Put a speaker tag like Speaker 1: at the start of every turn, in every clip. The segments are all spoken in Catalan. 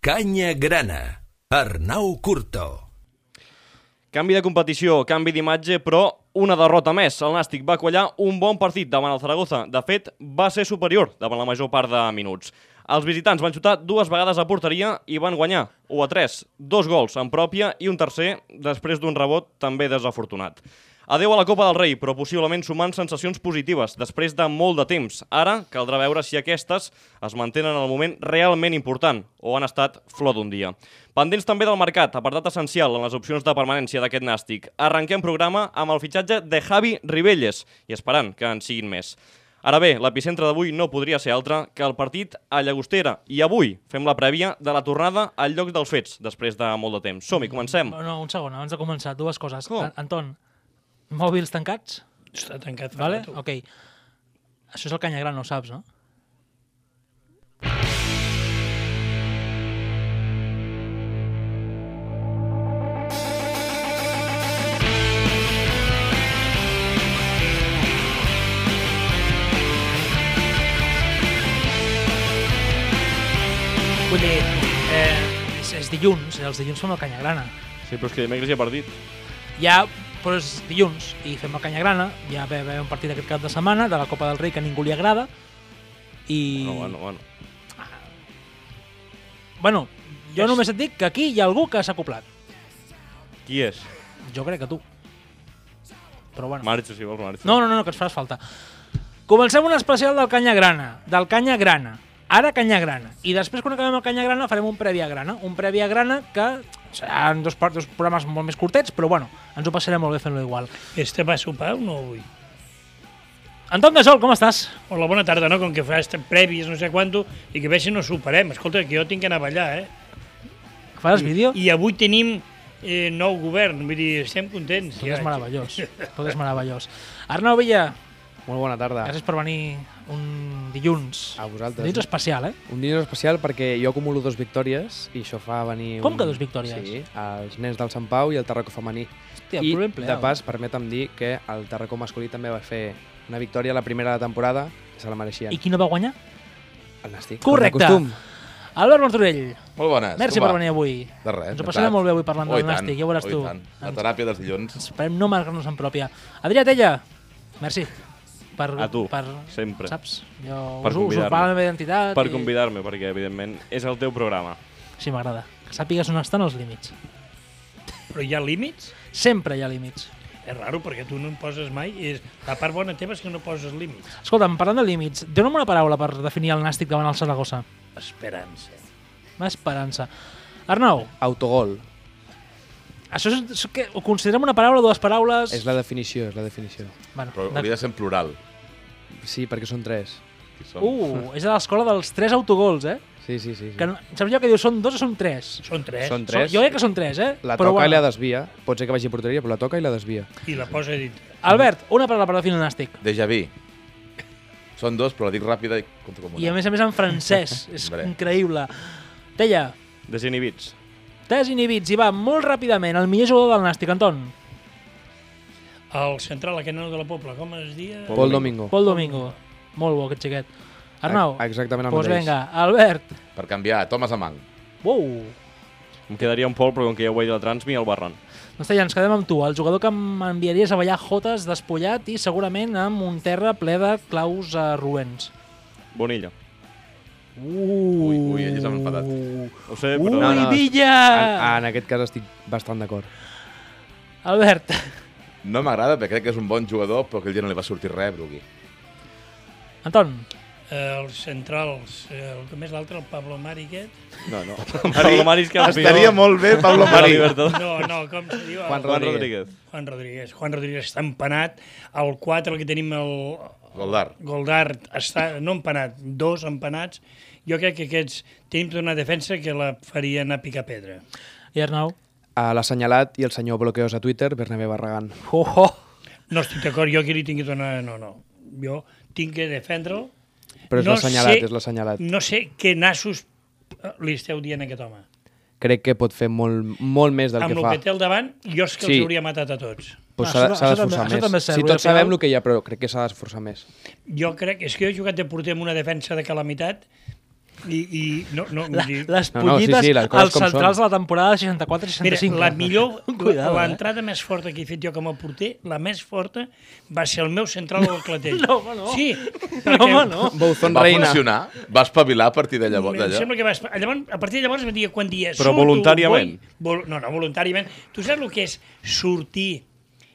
Speaker 1: Canya Grana, Arnau Curto.
Speaker 2: Canvi de competició, canvi d'imatge, però una derrota més. El Nàstic va quallar un bon partit davant el Zaragoza. De fet, va ser superior davant la major part de minuts. Els visitants van xutar dues vegades a porteria i van guanyar 1 a 3, dos gols en pròpia i un tercer després d'un rebot també desafortunat. Adeu a la Copa del Rei, però possiblement sumant sensacions positives després de molt de temps. Ara caldrà veure si aquestes es mantenen en el moment realment important o han estat flor d'un dia. Pendents també del mercat, apartat essencial en les opcions de permanència d'aquest nàstic. Arrenquem programa amb el fitxatge de Javi Ribelles i esperant que en siguin més. Ara bé, l'epicentre d'avui no podria ser altre que el partit a Llagostera i avui fem la prèvia de la tornada al lloc dels fets després de molt de temps. Som-hi, comencem.
Speaker 3: No, no, un segon, abans de començar, dues coses.
Speaker 2: Com?
Speaker 3: An- Anton, mòbils tancats?
Speaker 4: Està tancat.
Speaker 3: Vale?
Speaker 4: Ferran, tu.
Speaker 3: Ok. Això és el canyagran, no ho saps, no? Vull dir, eh, és, és dilluns, i els dilluns fem el canyagrana.
Speaker 2: Sí, però és que dimecres hi ha partit.
Speaker 3: Ja, però és dilluns i fem el Canyagrana, ja ve, ve un partit aquest cap de setmana de la Copa del Rei que a ningú li agrada i...
Speaker 2: No, bueno, bueno.
Speaker 3: Bueno, jo
Speaker 2: És-
Speaker 3: només et dic que aquí hi ha algú que s'ha acoplat.
Speaker 2: Qui és?
Speaker 3: Jo crec que tu. Però bueno.
Speaker 2: Marxa, si vols, marxa.
Speaker 3: No, no, no, que ens faràs falta. Comencem un especial del Canyagrana, del Canyagrana. Ara Canyagrana. I després, quan acabem el Canyagrana, farem un prèvia grana. Un prèvia grana que seran dos, par- dos programes molt més curtets, però bueno, ens ho passarem molt bé fent-lo igual.
Speaker 4: Este va a sopar o no avui?
Speaker 3: Anton Gasol, com estàs?
Speaker 4: Hola, bona tarda, no? Com que faràs previs, no sé quanto, i que veig si no soparem. Escolta, que jo tinc que anar a ballar, eh?
Speaker 3: Faràs vídeo?
Speaker 4: I avui tenim eh, nou govern, vull dir, estem contents.
Speaker 3: Tot és meravellós, tot és meravellós. Arnau Villa,
Speaker 5: Molt bona tarda.
Speaker 3: gràcies per venir un dilluns.
Speaker 5: A vosaltres.
Speaker 3: Dilluns especial, eh?
Speaker 5: Un dia especial perquè jo acumulo dues victòries i això fa venir...
Speaker 3: Com
Speaker 5: un...
Speaker 3: que dues victòries?
Speaker 5: Sí, els nens del Sant Pau i el Tarraco femení.
Speaker 3: Hòstia,
Speaker 5: I,
Speaker 3: problem ple.
Speaker 5: de pas, permetem dir que el Tarraco masculí també va fer una victòria a la primera de la temporada, que se la mereixien.
Speaker 3: I qui no va guanyar?
Speaker 5: El Nàstic.
Speaker 3: Correcte.
Speaker 5: Com de costum.
Speaker 3: Albert Martorell,
Speaker 6: Molt bones.
Speaker 3: merci
Speaker 6: com
Speaker 3: per
Speaker 6: va?
Speaker 3: venir avui.
Speaker 6: De res.
Speaker 3: Ens ho passarem
Speaker 6: encantat.
Speaker 3: molt bé avui parlant
Speaker 6: Oh,
Speaker 3: del
Speaker 6: i tant,
Speaker 3: Nàstic, ja ho veuràs
Speaker 6: oh, i
Speaker 3: tu. Doncs-
Speaker 6: tant. La
Speaker 3: Ens-
Speaker 6: teràpia dels dilluns.
Speaker 3: Esperem no marcar-nos en pròpia. Adrià Tella, merci. Per,
Speaker 2: A tu,
Speaker 3: per,
Speaker 2: sempre.
Speaker 3: Saps? Jo
Speaker 2: Per
Speaker 3: us, us
Speaker 2: convidar-me.
Speaker 3: usurpava la meva identitat.
Speaker 2: Per
Speaker 3: i-
Speaker 2: convidar-me, perquè, evidentment, és el teu programa.
Speaker 3: Sí, m'agrada. Que sàpigues on estan els límits.
Speaker 4: Però hi ha límits?
Speaker 3: Sempre hi ha límits.
Speaker 4: És raro, perquè tu no en poses mai. És... La part bona teva és que no poses límits.
Speaker 3: Escolta'm, parlant de límits, dona'm una paraula per definir el nàstic davant el Saragossa.
Speaker 4: Esperança.
Speaker 3: Una esperança. Arnau,
Speaker 5: Autogol.
Speaker 3: això és, és que ho considerem una paraula, dues paraules...
Speaker 5: És la definició, és la definició.
Speaker 3: Bueno,
Speaker 6: Però
Speaker 3: de...
Speaker 6: hauria de ser en plural.
Speaker 5: Sí, perquè són tres.
Speaker 6: Que som.
Speaker 3: Uh, és de l'escola dels tres autogols, eh?
Speaker 5: Sí, sí, sí. sí.
Speaker 3: Que, no- saps allò que diu, són dos o són tres?
Speaker 4: Són tres.
Speaker 5: Són
Speaker 3: Són,
Speaker 5: tres.
Speaker 3: jo crec que són tres, eh?
Speaker 5: La toca i la desvia. Pot ser que vagi a porteria, però la toca i la desvia.
Speaker 4: I la posa dintre.
Speaker 3: Albert, una paraula per definir el nàstic.
Speaker 6: Déjà vu. Són dos, però la dic ràpida i compto com una.
Speaker 3: I a més a més en francès, és
Speaker 6: Hombre.
Speaker 3: increïble. Teia,
Speaker 2: Desinhibits.
Speaker 3: desinhibits, i va molt ràpidament, el millor jugador del Nàstic, Anton,
Speaker 4: El central, aquest nano de la Pobla, com es dia?
Speaker 2: Pol
Speaker 5: Pol Domingo.
Speaker 3: Pol Domingo. Molt bo aquest xiquet. Arnau,
Speaker 5: Ex- Exactament el
Speaker 3: doncs
Speaker 5: mateix.
Speaker 3: vinga, Albert,
Speaker 6: Per canviar, Thomas Amang.
Speaker 3: uou,
Speaker 2: Em quedaria un Pol, però com que ja ho he dit a la Transmi, el Barran.
Speaker 3: Doncs Teia, ens quedem amb tu, el jugador que m'enviaries a ballar jotes despullat i segurament amb un terra ple de claus eh, roents.
Speaker 2: Bonilla.
Speaker 6: Ui, ui, ell és enfadat.
Speaker 2: Ho sé,
Speaker 3: Uh. Ui,
Speaker 2: Eh, però...
Speaker 5: No, no, En,
Speaker 3: Villa!
Speaker 5: en aquest cas estic bastant d'acord.
Speaker 3: Albert,
Speaker 6: No m'agrada perquè crec que és un bon jugador, però aquell dia no li va sortir res, Brugui.
Speaker 3: Anton,
Speaker 4: Eh, els centrals, eh, el que més l'altre, el Pablo Mari aquest.
Speaker 2: No, no. Pablo Mari és campió.
Speaker 6: Estaria molt bé,
Speaker 2: de
Speaker 6: Pablo
Speaker 2: la
Speaker 6: Mari.
Speaker 2: Libertadores.
Speaker 4: No, no, com se diu?
Speaker 5: Juan
Speaker 2: Juan Rodríguez.
Speaker 4: Juan Rodríguez. Juan Rodríguez està empanat. El 4, el que tenim el
Speaker 6: Goldar.
Speaker 4: Goldart, està no empanat, dos empanats. Jo crec que aquests tenim tota una defensa que la faria anar a picar pedra.
Speaker 3: i Arnau.
Speaker 5: A L'assenyalat i el senyor bloqueos a Twitter, Bernabé Barragán.
Speaker 3: Oh, oh.
Speaker 4: No estic d'acord, jo que li tingui donar... No, no. Jo tinc que defendre'l.
Speaker 5: Però és
Speaker 4: No
Speaker 5: l'assenyalat,
Speaker 4: sé-
Speaker 5: és l'assenyalat.
Speaker 4: No sé què nassos eh, li esteu dient a aquest home.
Speaker 5: Crec que pot fer molt, molt més del
Speaker 4: Amb
Speaker 5: que
Speaker 4: el
Speaker 5: fa.
Speaker 4: que té al davant, jo és que els
Speaker 5: Sí.
Speaker 4: hauria matat a tots.
Speaker 3: No,
Speaker 5: Pues s'ha
Speaker 3: això-
Speaker 5: de- s'ha
Speaker 3: això
Speaker 5: d'esforçar
Speaker 3: també- això també és
Speaker 5: més.
Speaker 3: cert,
Speaker 5: Si
Speaker 3: Oriol
Speaker 5: tots sabem
Speaker 3: Vidal.
Speaker 5: el que hi ha, però crec que s'ha d'esforçar més.
Speaker 4: Jo crec... És que jo he jugat de porter amb una defensa de calamitat I, i no, no, vull
Speaker 3: La,
Speaker 4: dir-
Speaker 3: les
Speaker 5: No, no, sí,
Speaker 3: pollides
Speaker 5: sí, les coses
Speaker 3: als
Speaker 5: com
Speaker 3: centrals
Speaker 5: són.
Speaker 3: de la temporada 64-65.
Speaker 4: Mira, la millor,
Speaker 3: Cuidado, eh?
Speaker 4: l'entrada més forta que he fet jo com a porter, la més forta, va ser el meu central del Clatell.
Speaker 3: No, home, no.
Speaker 4: Sí,
Speaker 3: No, home, no.
Speaker 5: Bouzon
Speaker 6: Va
Speaker 5: Reina.
Speaker 6: funcionar? Va espavilar a partir de llavors?
Speaker 4: Em
Speaker 6: d'allò?
Speaker 4: sembla que vas... Llavors, a partir de llavors em dia quan dia...
Speaker 2: Però
Speaker 4: surto,
Speaker 2: voluntàriament?
Speaker 4: Vull, vol, no, no, voluntàriament. Tu saps el que és sortir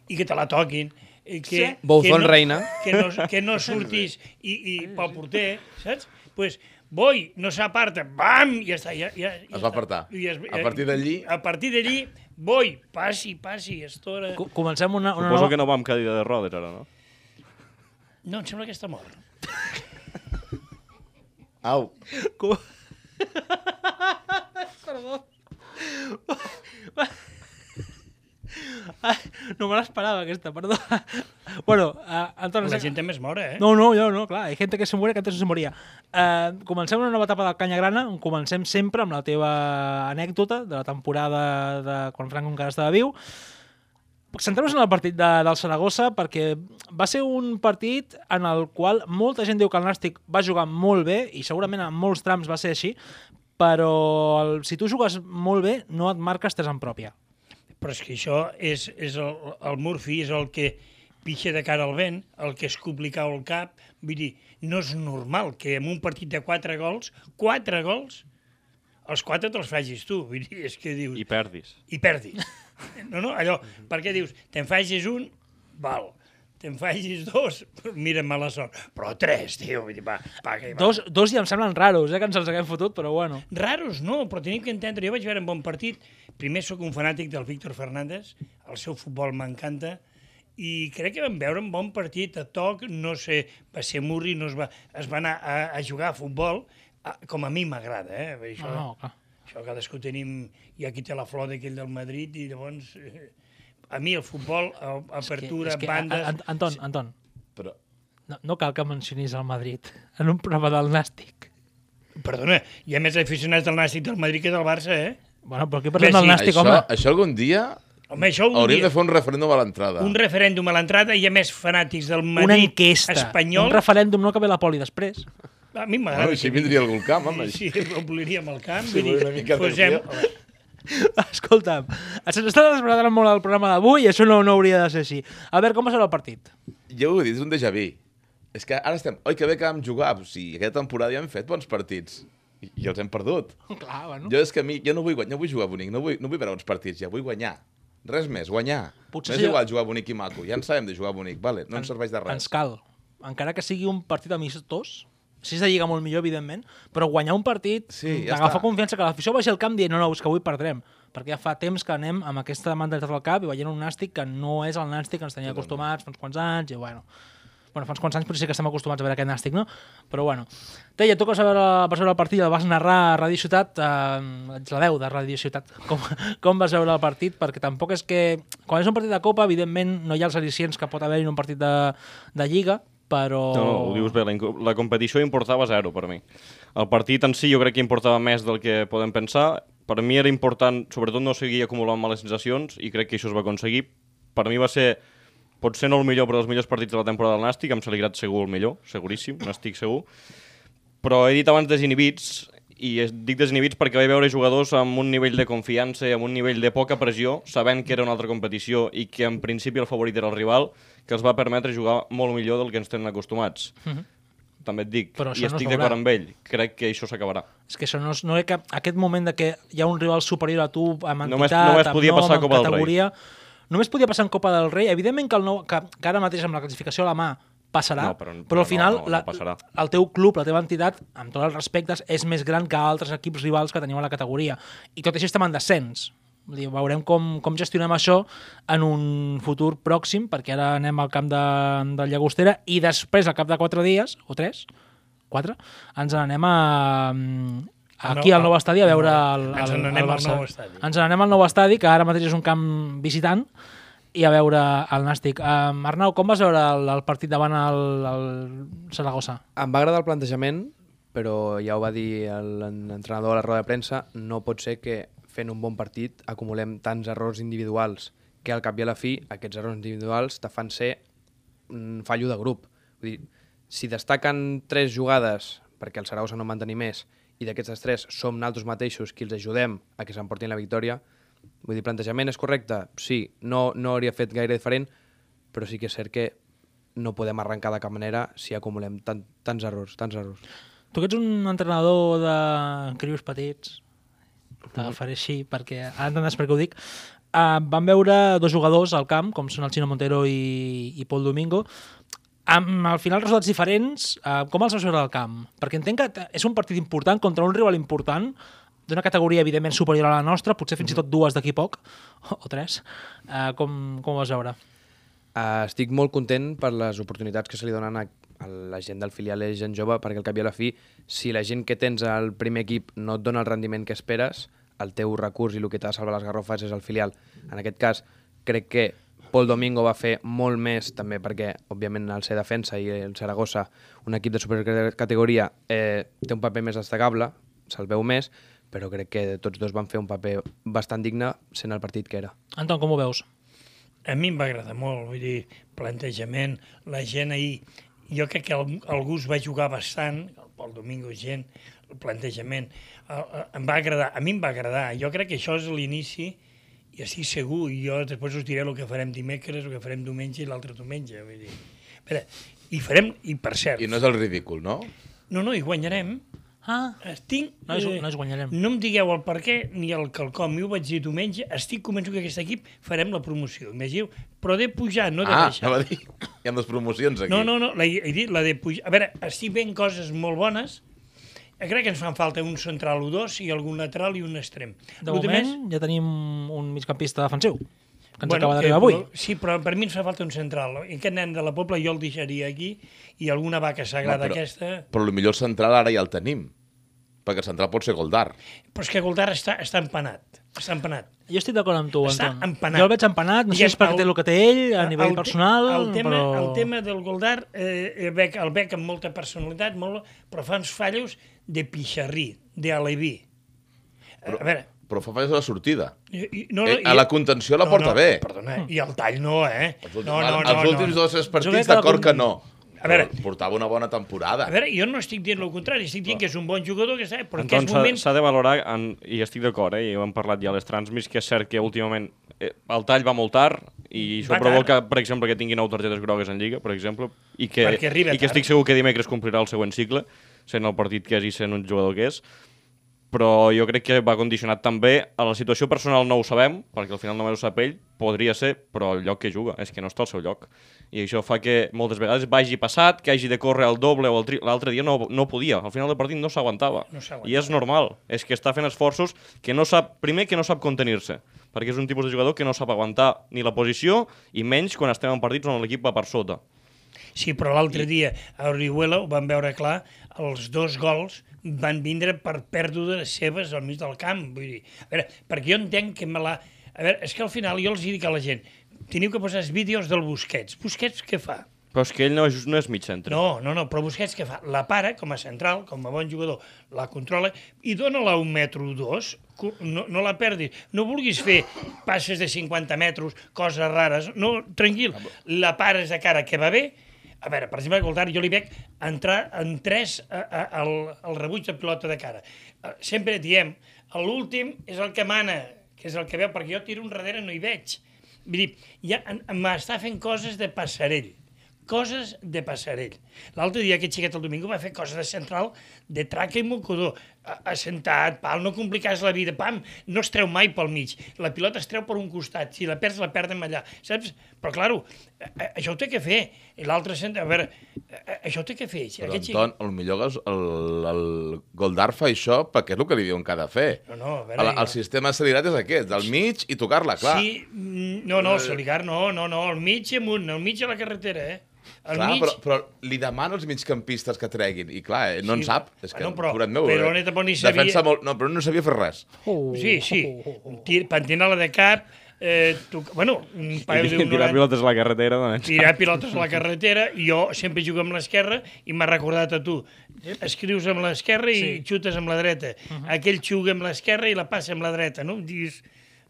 Speaker 4: i que te la toquin? I que, sí.
Speaker 5: Bouzón reina.
Speaker 4: Que no, que no surtis i, i pel porter, saps? pues, Boi no s'aparta, bam, i ja està. Ja, ja, ja
Speaker 6: Es va
Speaker 4: està.
Speaker 6: apartar.
Speaker 4: I es- eh,
Speaker 6: A partir d'allí-
Speaker 4: A partir d'allí, Boi, passi, passi, estora...
Speaker 3: Co- Comencem una, una
Speaker 2: Suposo
Speaker 3: nova...
Speaker 2: que no vam cadir de rodes, ara, no?
Speaker 4: No, em sembla que està mort.
Speaker 6: Au.
Speaker 3: Ah, no me l'esperava, aquesta, perdó. bueno, uh, Anton...
Speaker 4: La gent també es mora, eh?
Speaker 3: No, no, jo no, clar. Hi ha gent que se muere que antes no se moria. Uh, comencem una nova etapa del Canya Grana. on Comencem sempre amb la teva anècdota de la temporada de quan Franco encara estava viu. Centrem-nos en el partit de, del Saragossa perquè va ser un partit en el qual molta gent diu que el Nàstic va jugar molt bé i segurament en molts trams va ser així, però el, si tu jugues molt bé no et marques tres en pròpia.
Speaker 4: Però és que això és, és el, el Murphy, és el que pixa de cara al vent, el que es complicau el cap. Vull dir, no és normal que en un partit de 4 gols, 4 gols, els 4 te'ls facis tu. Vull dir, és que dius
Speaker 2: I perdis.
Speaker 4: i perdis. No, no, allò, perquè dius, te'n facis un, val, te'n facis dos, mira mala sort, però tres, tio, vull dir, va, va, que hi va.
Speaker 3: Dos, dos ja em semblen raros, eh, que ens els haguem fotut, però bueno.
Speaker 4: Raros no, però tenim que entendre. Jo vaig veure un bon partit. Primer sóc un fanàtic del Víctor Fernández, el seu futbol m'encanta, i crec que vam veure un bon partit a toc, no sé, va ser Murri, no es va, es va anar a, a jugar a futbol, a, com a mi m'agrada, eh? Vull dir, Això,
Speaker 3: No, no, clar.
Speaker 4: això cadascú tenim... Hi ha qui té la flor d'aquell del Madrid i llavors... Eh, a mi el futbol, a- apertura,
Speaker 3: És que,
Speaker 4: bandes...
Speaker 3: a- a- Anton, Anton,
Speaker 6: Però...
Speaker 3: no, no cal que mencionis el Madrid en un programa del Nàstic.
Speaker 4: Perdona, hi ha més aficionats del Nàstic del Madrid que del Barça, eh?
Speaker 3: Bueno, però aquí parlem del
Speaker 4: Messi.
Speaker 3: Nàstic,
Speaker 6: Això,
Speaker 3: home.
Speaker 6: això algun dia
Speaker 4: Home, això un
Speaker 6: hauríem
Speaker 4: dia...
Speaker 6: de fer un referèndum a l'entrada.
Speaker 4: un referèndum a l'entrada i a més fanàtics del Madrid
Speaker 3: Ah. Una enquesta,
Speaker 4: espanyol.
Speaker 3: un referèndum no que ve la poli després.
Speaker 4: A mi m'agrada.
Speaker 6: Bueno, així vindria algú al camp, home.
Speaker 4: Sí, sí, obliríem el camp.
Speaker 6: Sí,
Speaker 4: vull dir,
Speaker 6: una mica
Speaker 4: posem...
Speaker 6: d'energia.
Speaker 3: Escolta'm, se'ns està desbaratant molt el programa d'avui i això no, no hauria de ser així. A veure, com va ser el partit?
Speaker 6: Ja ho he dit, és un déjà vu. És que ara estem... Oi, que bé que vam jugar. O sigui, aquesta temporada ja hem fet bons partits. I, i els hem perdut.
Speaker 3: Clar, bueno.
Speaker 6: Jo és que a mi... Jo no vull, guanyar, no vull jugar bonic, no vull, no vull veure bons partits, ja vull guanyar. Res més, guanyar.
Speaker 3: Potser
Speaker 6: M'és
Speaker 3: si-
Speaker 6: igual jugar bonic i maco. Ja en sabem de jugar bonic, vale? No ens serveix de res.
Speaker 3: Ens cal, encara que sigui un partit amistós, si és de lliga molt millor, evidentment, però guanyar un partit,
Speaker 6: Sí, ja
Speaker 3: d'agafar
Speaker 6: està.
Speaker 3: confiança, que l'afició vagi al camp dient no, no, és que avui perdrem, perquè ja fa temps que anem amb aquesta mentalitat al cap i veient un nàstic que no és el nàstic que ens tenia acostumats fa uns quants anys, i bueno... Bueno, fa uns quants anys potser sí que estem acostumats a veure aquest nàstic, no? Però bueno. Teia, tu que vas veure, vas veure el partit, el vas narrar a Ràdio Ciutat, eh, ets la veu de Ràdio Ciutat, com, com vas veure el partit? Perquè tampoc és que... Quan és un partit de Copa, evidentment, no hi ha els al·licients que pot haver en un partit de, de Lliga, però...
Speaker 2: No, no, ho dius bé, la, inco- la competició importava zero per mi. El partit en si jo crec que importava més del que podem pensar. Per mi era important, sobretot no seguir acumulant males sensacions i crec que això es va aconseguir. Per mi va ser potser no el millor, però dels millors partits de la temporada del Nàstic, em s'ha alegrat segur el millor, seguríssim, n'estic segur. Però he dit abans desinhibits, i es- dic desinhibits perquè vaig veure jugadors amb un nivell de confiança i amb un nivell de poca pressió, sabent que era una altra competició i que en principi el favorit era el rival, que els va permetre jugar molt millor del que ens tenen acostumats. També et dic,
Speaker 3: Mhm. Però això
Speaker 2: i
Speaker 3: no
Speaker 2: estic
Speaker 3: s'haurà.
Speaker 2: d'acord amb ell, crec que això s'acabarà.
Speaker 3: És que això no, és, no era cap, aquest moment de que hi ha un rival superior a tu amb
Speaker 2: Només-
Speaker 3: entitat,
Speaker 2: només podia
Speaker 3: amb nom,
Speaker 2: passar a
Speaker 3: amb
Speaker 2: Copa del Rei.
Speaker 3: categoria... Només podia passar en Copa del Rei. Evidentment que, el nou, que, que ara mateix amb la classificació a la mà passarà,
Speaker 2: No, però- però
Speaker 3: però al
Speaker 2: no,
Speaker 3: final
Speaker 2: no, no passarà.
Speaker 3: el teu club, la teva entitat, amb tots els respectes, és més gran que altres equips rivals que teniu a la categoria. I tot i així estem en descens. Vull dir, veurem com, com gestionem això en un futur pròxim, perquè ara anem al camp de, de Llagostera i després, al cap de quatre dies, o tres, quatre, ens n'anem a, mm, aquí
Speaker 4: No,
Speaker 3: al nou estadi a veure el,
Speaker 4: Ens
Speaker 3: el,
Speaker 4: n'anem
Speaker 3: el
Speaker 4: al
Speaker 3: Barça.
Speaker 4: nou estadi.
Speaker 3: Ens n'anem al nou estadi, que ara mateix és un camp visitant, i a veure el Nàstic. Um, Arnau, com vas veure el, el partit davant el, el Saragossa?
Speaker 5: Em va agradar el plantejament, però ja ho va dir el- l'entrenador a la roda de premsa, no pot ser que fent un bon partit acumulem tants errors individuals que al cap i a la fi aquests errors individuals te fan ser un fallo de grup. Vull dir, si destaquen tres jugades perquè el Saragossa no en va tenir més i d'aquests tres som naltros mateixos qui els ajudem a que s'emportin la victòria, vull dir, plantejament és correcte? Sí, no, no hauria fet gaire diferent, però sí que és cert que no podem arrencar de cap manera si acumulem tan, tants errors, tants errors.
Speaker 3: Tu que ets un entrenador de crios petits, t'agafaré així perquè ara entendràs per què ho dic, uh, van veure dos jugadors al camp, com són el Chino Montero i, i Pol Domingo, amb al final resultats diferents, uh, com els vas veure al camp? Perquè entenc que t- és un partit important contra un rival important, d'una categoria evidentment superior a la nostra, potser fins i tot dues d'aquí poc, o, o tres. Uh, com, com ho vas veure?
Speaker 5: Uh, estic molt content per les oportunitats que se li donen a, a la gent del filial i gent jove, perquè al cap i a la fi, si la gent que tens al primer equip no et dona el rendiment que esperes, el teu recurs i el que t'ha de salvar les garrofes és el filial. En aquest cas, crec que Pol Domingo va fer molt més, també perquè, òbviament, el ser defensa i el Saragossa, un equip de supercategoria, eh, té un paper més destacable, se'l veu més, però crec que tots dos van fer un paper bastant digne sent el partit que era.
Speaker 3: Anton, com ho veus?
Speaker 4: A mi em va agradar molt, vull dir, plantejament, la gent ahir... Jo crec que el, algú es va jugar bastant, el Pol Domingo gent, el plantejament, el, el, em va agradar, a mi em va agradar. Jo crec que això és l'inici, i estic segur, i jo després us diré el que farem dimecres, el que farem diumenge i l'altre diumenge, vull dir... A veure, i farem, i per cert...
Speaker 6: I no és el ridícul, no?
Speaker 4: no, no, i guanyarem.
Speaker 3: Ah,
Speaker 4: Estic...
Speaker 3: Nois-
Speaker 4: eh,
Speaker 3: nois, guanyarem.
Speaker 4: No em digueu el per què ni el quelcom. Jo ho vaig dir diumenge, estic convençut que aquest equip farem la promoció. Imageu, però de pujar, no de
Speaker 6: ah,
Speaker 4: baixar.
Speaker 6: anava a dir, hi ha dues promocions aquí.
Speaker 4: eh? No, no, no, la, he dit la de pujar. A veure, estic veient coses molt bones. Eh, Crec que ens fan falta un central o dos i algun lateral i un extrem.
Speaker 3: de
Speaker 4: Lo
Speaker 3: moment
Speaker 4: demés-
Speaker 3: ja tenim un migcampista defensiu, que ens acaba d'arribar avui.
Speaker 4: eh, Però, sí, però per mi ens fa falta un central. I Aquest nen de la Pobla jo el deixaria aquí i alguna vaca sagrada
Speaker 6: No, Ah, però-
Speaker 4: aquesta...
Speaker 6: Però potser el central ara ja el tenim, perquè el central pot ser Goldar.
Speaker 4: Però és que Goldar està, està empanat. Està empanat.
Speaker 3: Jo estic d'acord amb tu,
Speaker 4: Està
Speaker 3: Anton.
Speaker 4: empanat.
Speaker 3: Jo el veig empanat, no sé si és
Speaker 4: Diguem,
Speaker 3: perquè
Speaker 4: el-
Speaker 3: té el que té ell a nivell
Speaker 4: te-
Speaker 3: personal,
Speaker 4: el tema,
Speaker 3: però...
Speaker 4: El tema del Goldar eh, el, veig, el veig amb molta personalitat, molt, però fa uns fallos de pixarrí, d'aleví. A veure,
Speaker 6: Però fa falta la sortida.
Speaker 4: i, i, no,
Speaker 6: Eh, a la contenció la porta
Speaker 4: no,
Speaker 6: bé.
Speaker 4: Perdona, i el tall no, eh?
Speaker 6: Els últims,
Speaker 4: No, no, no,
Speaker 6: els
Speaker 4: no,
Speaker 6: últims
Speaker 4: no.
Speaker 6: dos tres
Speaker 3: Jo crec
Speaker 6: partits,
Speaker 3: que la
Speaker 6: d'acord
Speaker 3: con-
Speaker 6: que no.
Speaker 4: A veure-
Speaker 6: Però Portava una bona temporada.
Speaker 4: A veure, jo no estic dient el contrari, estic dient que és un bon jugador, que sap, però en
Speaker 2: Anton,
Speaker 4: aquests
Speaker 2: s'ha
Speaker 4: moments...
Speaker 2: s'ha de valorar, en, i estic d'acord, eh, i ho hem parlat ja a les transmis, que és cert que últimament eh, el tall va molt tard i això
Speaker 4: Va
Speaker 2: provoca, per exemple, que tingui nou targetes grogues en Lliga, per exemple, i que,
Speaker 4: Perquè arriba
Speaker 2: i que
Speaker 4: tard.
Speaker 2: estic segur que dimecres complirà el següent cicle, sent el partit que és i sent un jugador que és, però jo crec que va condicionat també a la situació personal no ho sabem, perquè al final només ho sap ell, podria ser, però el lloc que juga, és que no està al seu lloc. I això fa que moltes vegades vagi passat, que hagi de córrer el doble o el tri... L'altre dia no, no podia, al final del partit no s'aguantava.
Speaker 4: No s'aguantava.
Speaker 2: I és normal, és que està fent esforços que no sap, primer que no sap contenir-se, perquè és un tipus de jugador que no sap aguantar ni la posició i menys quan estem en partits on l'equip va per sota.
Speaker 4: Sí, però l'altre dia a Orihuela ho van veure clar, els dos gols van vindre per pèrdues seves al mig del camp. Vull dir, a veure, perquè jo entenc que me la... A veure, és que al final jo els dic a la gent, teniu que posar els vídeos del Busquets. Busquets què fa?
Speaker 2: Però és que ell no és, no és mig centre.
Speaker 4: No, no, no, però Busquets què fa? La para, com a central, com a bon jugador, la controla i dóna-la un metro o dos, cu- no, no la perdis. No vulguis fer passes de 50 metres, coses rares, no, tranquil, la pares de cara que va bé, a veure, per exemple, Goldar, jo li veig entrar en tres a, a, al, al rebuig de pilota de cara. Eh, Sempre diem, l'últim és el que mana, que és el que veu, perquè jo tiro un darrere i no hi veig. Vull dir, ja en- m'està fent coses de passarell coses de passarell. L'altre dia aquest xiquet el domingo va fer coses de central de traca i mocador. A- Assentat, pal, no complicàs la vida, pam, no es treu mai pel mig. La pilota es treu per un costat, si la perds, la perdem allà, saps? Però, claro, a- a- això ho té que fer. I L'altre centre, a veure, a- a- això ho té que fer.
Speaker 6: Però, Anton, el millor que és el, el Goldar fa això perquè és el que li diuen que ha de fer.
Speaker 4: No, no, a veure,
Speaker 6: el,
Speaker 4: jo-
Speaker 6: el sistema accelerat és aquest, del mig i tocar-la, clar. Eh.
Speaker 4: Sí, mm, no, no, Soligar, no, no, no, al mig i amunt, al mig de la carretera, eh? Al
Speaker 6: clar
Speaker 4: mig...
Speaker 6: però, però li demano als migcampistes que treguin, i clar, eh, no en
Speaker 4: Sí,
Speaker 6: sap. És que,
Speaker 4: bueno, però-
Speaker 6: pobret meu,
Speaker 4: però
Speaker 6: eh,
Speaker 4: no tampoc ni sabia-
Speaker 6: defensa molt, no, però no sabia fer res.
Speaker 4: Sí, sí,
Speaker 6: Oh.
Speaker 4: tir, pentinar-la de cap, eh, tu, bueno, un paio d'un
Speaker 2: Tirar
Speaker 4: 90,
Speaker 2: pilotes a la carretera, doncs.
Speaker 4: tirar pilotes a la carretera, i jo sempre jugo amb l'esquerra i m'ha recordat a tu. Escrius amb l'esquerra i
Speaker 3: Sí. Uh-huh.
Speaker 4: xutes amb la dreta. Aquell xuga amb l'esquerra i la passa amb la dreta, no? Dius,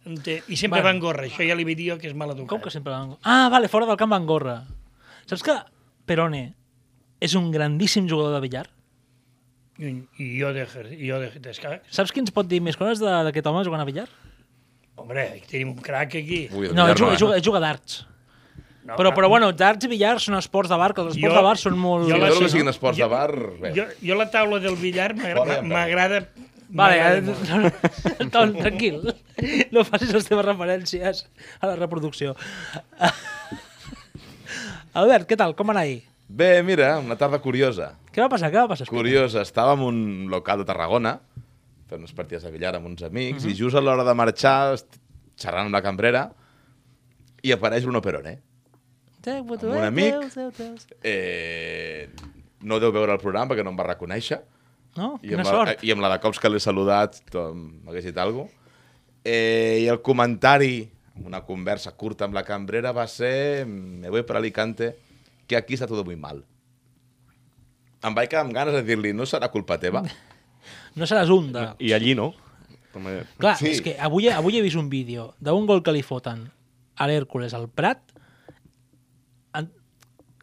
Speaker 4: ente- I sempre
Speaker 3: Bueno.
Speaker 4: va en gorra, això ja li vaig dir jo que és mal educat.
Speaker 3: Com que sempre van... Ah, vale, fora del camp van gorra. Saps que Perone és un grandíssim jugador de billar?
Speaker 4: I, i jo de, i jo de, d'escacs.
Speaker 3: Saps qui ens pot dir més coses de- d'aquest home jugant a billar?
Speaker 4: Hombre, aquí tenim un crac aquí.
Speaker 6: Ui,
Speaker 3: No,
Speaker 6: Villarroel.
Speaker 3: ell juga, ell juga d'arts.
Speaker 4: No,
Speaker 3: Però, però bueno, darts i billar són esports de bar, que els esports
Speaker 4: Jo-
Speaker 3: de bar són molt...
Speaker 4: jo
Speaker 6: Sí,
Speaker 4: la-
Speaker 6: tot el
Speaker 4: sí,
Speaker 6: que siguin
Speaker 4: no?
Speaker 6: esports
Speaker 4: Jo-
Speaker 6: de bar, bé.
Speaker 4: Jo, jo la taula del billar
Speaker 6: Fora,
Speaker 4: m'agra-
Speaker 6: em
Speaker 4: m'agrada...
Speaker 3: Vale,
Speaker 4: m'agrada
Speaker 3: eh,
Speaker 4: molt.
Speaker 3: no, no, Tom, tranquil. No facis les teves referències a la reproducció. Albert, què tal? Com va anar ahir?
Speaker 6: Bé, mira, una tarda curiosa.
Speaker 3: Què va passar? Què va passar?
Speaker 6: Curiosa, estàvem en un local de Tarragona, fent unes partides de billar amb uns amics,
Speaker 3: Mhm.
Speaker 6: i just a l'hora de marxar, est- xerrant amb la cambrera, i apareix Bruno Perone.
Speaker 3: Amb
Speaker 6: amb un amic. Eh, no deu veure el programa perquè no em va reconèixer.
Speaker 3: No?
Speaker 6: I
Speaker 3: Quina
Speaker 6: amb, eh, la,
Speaker 3: sort.
Speaker 6: I amb la de cops que l'he saludat, tom, m'hagués dit alguna cosa. Eh, I el comentari, amb una conversa curta amb la cambrera, va ser me voy para Alicante, que aquí està tot muy mal. Em vaig quedar amb ganes de dir-li, no serà culpa teva?
Speaker 3: No seràs un de...
Speaker 2: I allí no. També...
Speaker 3: Clar,
Speaker 6: Sí.
Speaker 3: sí. és que avui, avui he vist un vídeo d'un gol que li foten a l'Hèrcules al Prat. En...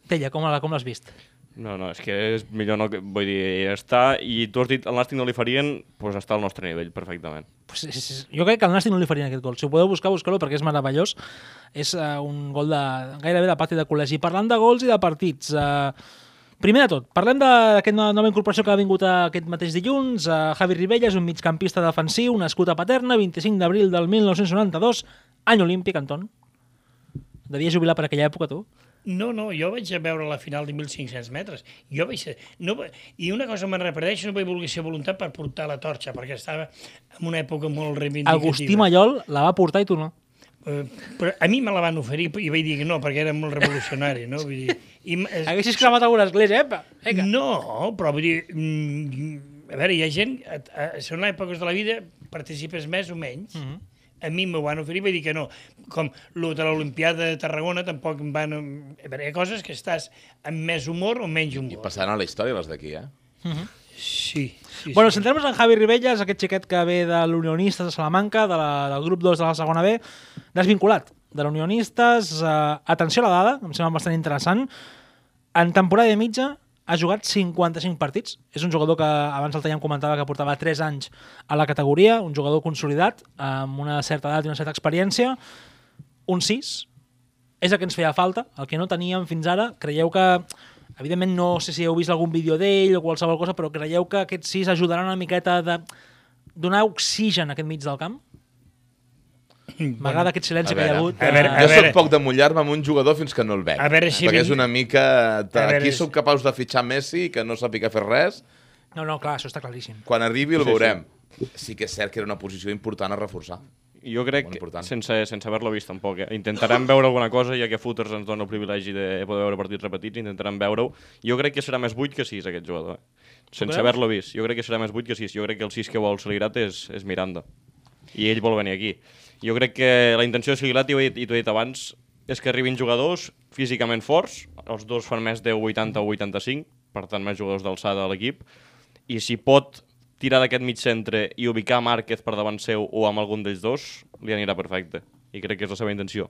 Speaker 3: Tella, com, la- com l'has vist?
Speaker 2: No, no, és que és millor no... que- Vull dir, està... I tu has dit el Nàstic no li farien, doncs està al nostre nivell, perfectament.
Speaker 3: Pues és, és, jo crec que el Nàstic no li farien aquest gol. Si ho podeu buscar, busqueu-lo perquè és meravellós. És uh, un gol de, gairebé de pati de col·legi. Parlant de gols i de partits... Uh, primer de tot, parlem d'aquesta nova incorporació que ha vingut aquest mateix dilluns. Uh, Javi Ribella és un migcampista defensiu nascut a Paterna, 25 d'abril del 1992, any olímpic, Anton. Devies jubilar per aquella època, tu?
Speaker 4: No, no, jo vaig a veure la final de 1.500 metres. Jo vaig ser... No, va- I una cosa me'n repeteixo, no vaig voler ser voluntat per portar la torxa, perquè estava en una època molt reivindicativa.
Speaker 3: Agustí Mallol la va portar i tu no.
Speaker 4: Eh, Però a mi me la van oferir i vaig dir que no, perquè era molt revolucionari, no? Vull dir, i, m- es-
Speaker 3: Haguessis cremat alguna església, epa! Vinga.
Speaker 4: No, però vull dir... mm, A veure, hi ha gent... A, a, segons èpoques de la vida participes més o menys. Mm -hmm. A mi m'ho van oferir i vaig dir que no. Com lo de l'Olimpiada de Tarragona tampoc em van... A veure, hi ha coses que estàs amb més humor o menys
Speaker 6: I
Speaker 4: humor.
Speaker 6: passaran a la història les d'aquí, eh?
Speaker 4: Sí, sí,
Speaker 3: Bueno,
Speaker 4: sí.
Speaker 3: centrem-nos en Javi Ribelles, aquest xiquet que ve de l'Unionistes de Salamanca, de la, del grup 2 de la segona B, desvinculat de l'Unionistes. Eh, atenció a la dada, em sembla bastant interessant. En temporada i mitja ha jugat 55 partits. És un jugador que abans el Tallem comentava que portava 3 anys a la categoria, un jugador consolidat, amb una certa edat i una certa experiència. Un 6, és el que ens feia falta, el que no teníem fins ara. Creieu que, evidentment no sé si heu vist algun vídeo d'ell o qualsevol cosa, però creieu que aquests sis ajudaran una miqueta de donar oxigen a aquest mig del camp? M'agrada aquest silenci
Speaker 6: A
Speaker 3: que hi ha
Speaker 6: veure.
Speaker 3: hagut.
Speaker 4: A veure,
Speaker 3: eh,
Speaker 4: a
Speaker 6: Jo
Speaker 4: veure.
Speaker 6: sóc poc de mullar-me amb un jugador fins que no el veig.
Speaker 4: A veure si
Speaker 6: Perquè
Speaker 4: vin-
Speaker 6: és una mica...
Speaker 4: A veure
Speaker 6: Aquí
Speaker 4: si-
Speaker 6: som capaços de fitxar Messi que no sàpiga fer res.
Speaker 3: No, no, clar, això està claríssim.
Speaker 6: Quan arribi el veurem. Sí que és cert que era una posició important a reforçar.
Speaker 2: Jo crec,
Speaker 6: Molt important.
Speaker 2: sense, sense haver-lo vist tampoc, eh? intentarem veure alguna cosa, ja que Footers ens dona el privilegi de poder veure partits repetits, intentarem veure-ho. Jo crec que serà més buit que 6, aquest jugador. Eh? Sense
Speaker 3: creus?
Speaker 2: haver-lo vist. Jo crec que serà més buit que 6. Jo crec que el 6 que vol Saligrata és, és Miranda. I ell vol venir aquí. Jo crec que la intenció de Saligrata, i ho he dit- i t'ho he dit abans, és que arribin jugadors físicament forts, els dos fan més de 80 o 85, per tant més jugadors d'alçada a l'equip, i si pot tirar d'aquest mig centre i ubicar Márquez per davant seu o amb algun d'ells dos, li anirà perfecte. I crec que és la seva intenció.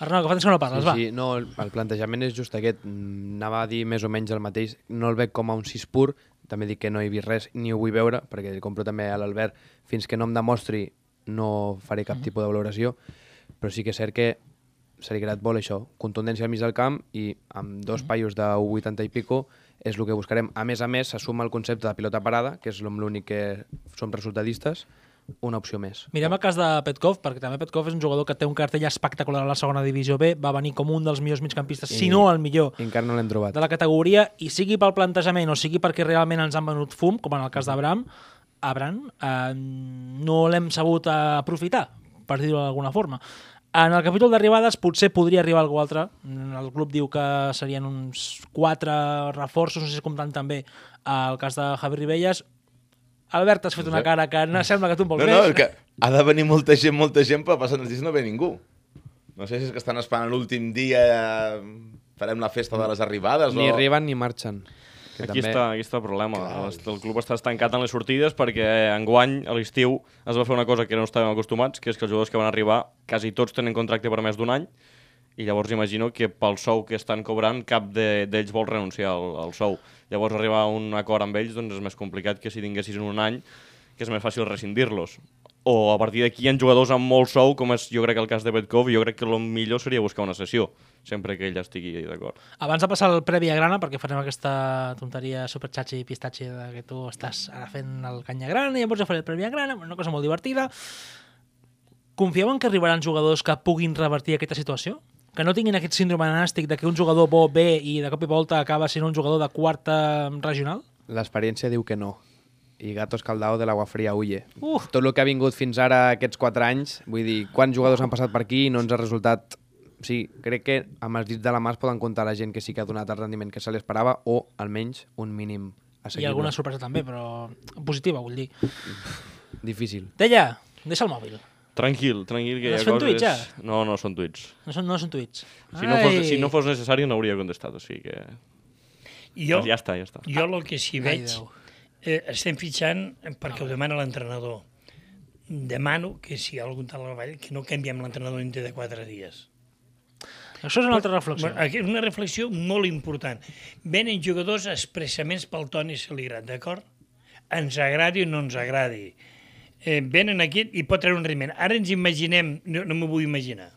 Speaker 3: Arnau, que fa temps que no parles, Doncs va.
Speaker 5: Sí, no, el, el plantejament és just aquest. Mm, Anava a dir més o menys el mateix. No el veig com a un sis pur, també dic que no he vist res ni ho vull veure, perquè el compro també a l'Albert. Fins que no em demostri no faré cap
Speaker 3: Mhm.
Speaker 5: tipus de valoració, però sí que és cert que Serigrat vol això, contundència al mig del camp i amb dos
Speaker 3: Mhm.
Speaker 5: paios de 80 i pico és el que buscarem. A més a més, se suma el concepte de pilota parada, que és amb l'únic que som resultadistes, una opció més.
Speaker 3: Mirem el cas de Petkov, perquè també Petkov és un jugador que té un cartell espectacular a la segona divisió B, va venir com un dels millors migcampistes, si no el millor,
Speaker 5: I encara no l'hem trobat.
Speaker 3: de la categoria i sigui pel plantejament o sigui perquè realment ens han venut fum, com en el cas d'Abram, Abram, eh, no l'hem sabut eh, aprofitar, per dir-ho d'alguna forma. En el capítol d'arribades potser podria arribar algú altre. Mm, El club diu que serien uns quatre reforços, no sé si comptant també eh, el cas de Javi Ribelles. Albert, has fet una cara que no sembla que tu en vols
Speaker 6: No, no,
Speaker 3: més.
Speaker 6: és que ha de venir molta gent, molta gent, però passen els dies i no ve ningú. No sé si és que estan esperant l'últim dia, farem la festa de les arribades
Speaker 5: Ni
Speaker 6: o...
Speaker 5: arriben ni marxen. Que
Speaker 2: Aquí
Speaker 5: també...
Speaker 2: està, aquí està el problema. El, el club està estancat en les sortides perquè eh, enguany, a l'estiu, es va fer una cosa que no estàvem acostumats, que és que els jugadors que van arribar, quasi tots tenen contracte per més d'un any, i llavors imagino que pel sou que estan cobrant cap de- d'ells vol renunciar al, al sou. Llavors arribar a un acord amb ells doncs és més complicat que si tinguessis en un any que és més fàcil rescindir-los. O a partir d'aquí hi ha jugadors amb molt sou, com és jo crec el cas de Petkov, i jo crec que el millor seria buscar una sessió, sempre que ell estigui d'acord.
Speaker 3: Abans de passar al previ a grana, perquè farem aquesta tonteria superxatxi i pistatxi de que tu estàs ara fent el canya grana i llavors jo faré el previ a grana, una cosa molt divertida. Confieu en que arribaran jugadors que puguin revertir aquesta situació? Que no tinguin aquest síndrome anàstic de que un jugador bo ve i de cop i volta acaba sent un jugador de quarta regional?
Speaker 5: L'experiència diu que no. I Gatos Caldao de l'Agua Fria huye.
Speaker 3: Uf.
Speaker 5: Tot el que ha vingut fins ara aquests 4 anys, vull dir, quants jugadors han passat per aquí i no ens ha resultat... Sí, crec que amb els dits de la mà es poden comptar la gent que sí que ha donat el rendiment que se li esperava o almenys un mínim a
Speaker 3: I
Speaker 5: seguir.
Speaker 3: alguna sorpresa també, però positiva, vull dir.
Speaker 5: Difícil.
Speaker 3: Deia, deixa el mòbil.
Speaker 2: Tranquil, tranquil. Que
Speaker 3: No
Speaker 2: hi ha
Speaker 3: són
Speaker 2: coses...
Speaker 3: tuits, ja?
Speaker 2: No, no són tuits.
Speaker 3: No són, no són tuits.
Speaker 2: Si no, fos,
Speaker 3: Ai.
Speaker 2: si no fos necessari no hauria contestat, o sigui que...
Speaker 4: I jo,
Speaker 2: Doncs ja està, ja està.
Speaker 4: Jo el que sí
Speaker 3: Ai,
Speaker 4: veig,
Speaker 3: Déu.
Speaker 4: eh, estem fitxant perquè ho demana l'entrenador. Demano que si hi ha algun tal treball, que no canviem l'entrenador dintre de quatre dies.
Speaker 3: Això és una altra reflexió.
Speaker 4: Bueno, aquí és una reflexió molt important. Venen jugadors expressaments pel Toni Saligrat, d'acord? Ens agradi o no ens agradi. Eh, venen aquí i pot treure un rendiment. Ara ens imaginem, no, no m'ho vull imaginar.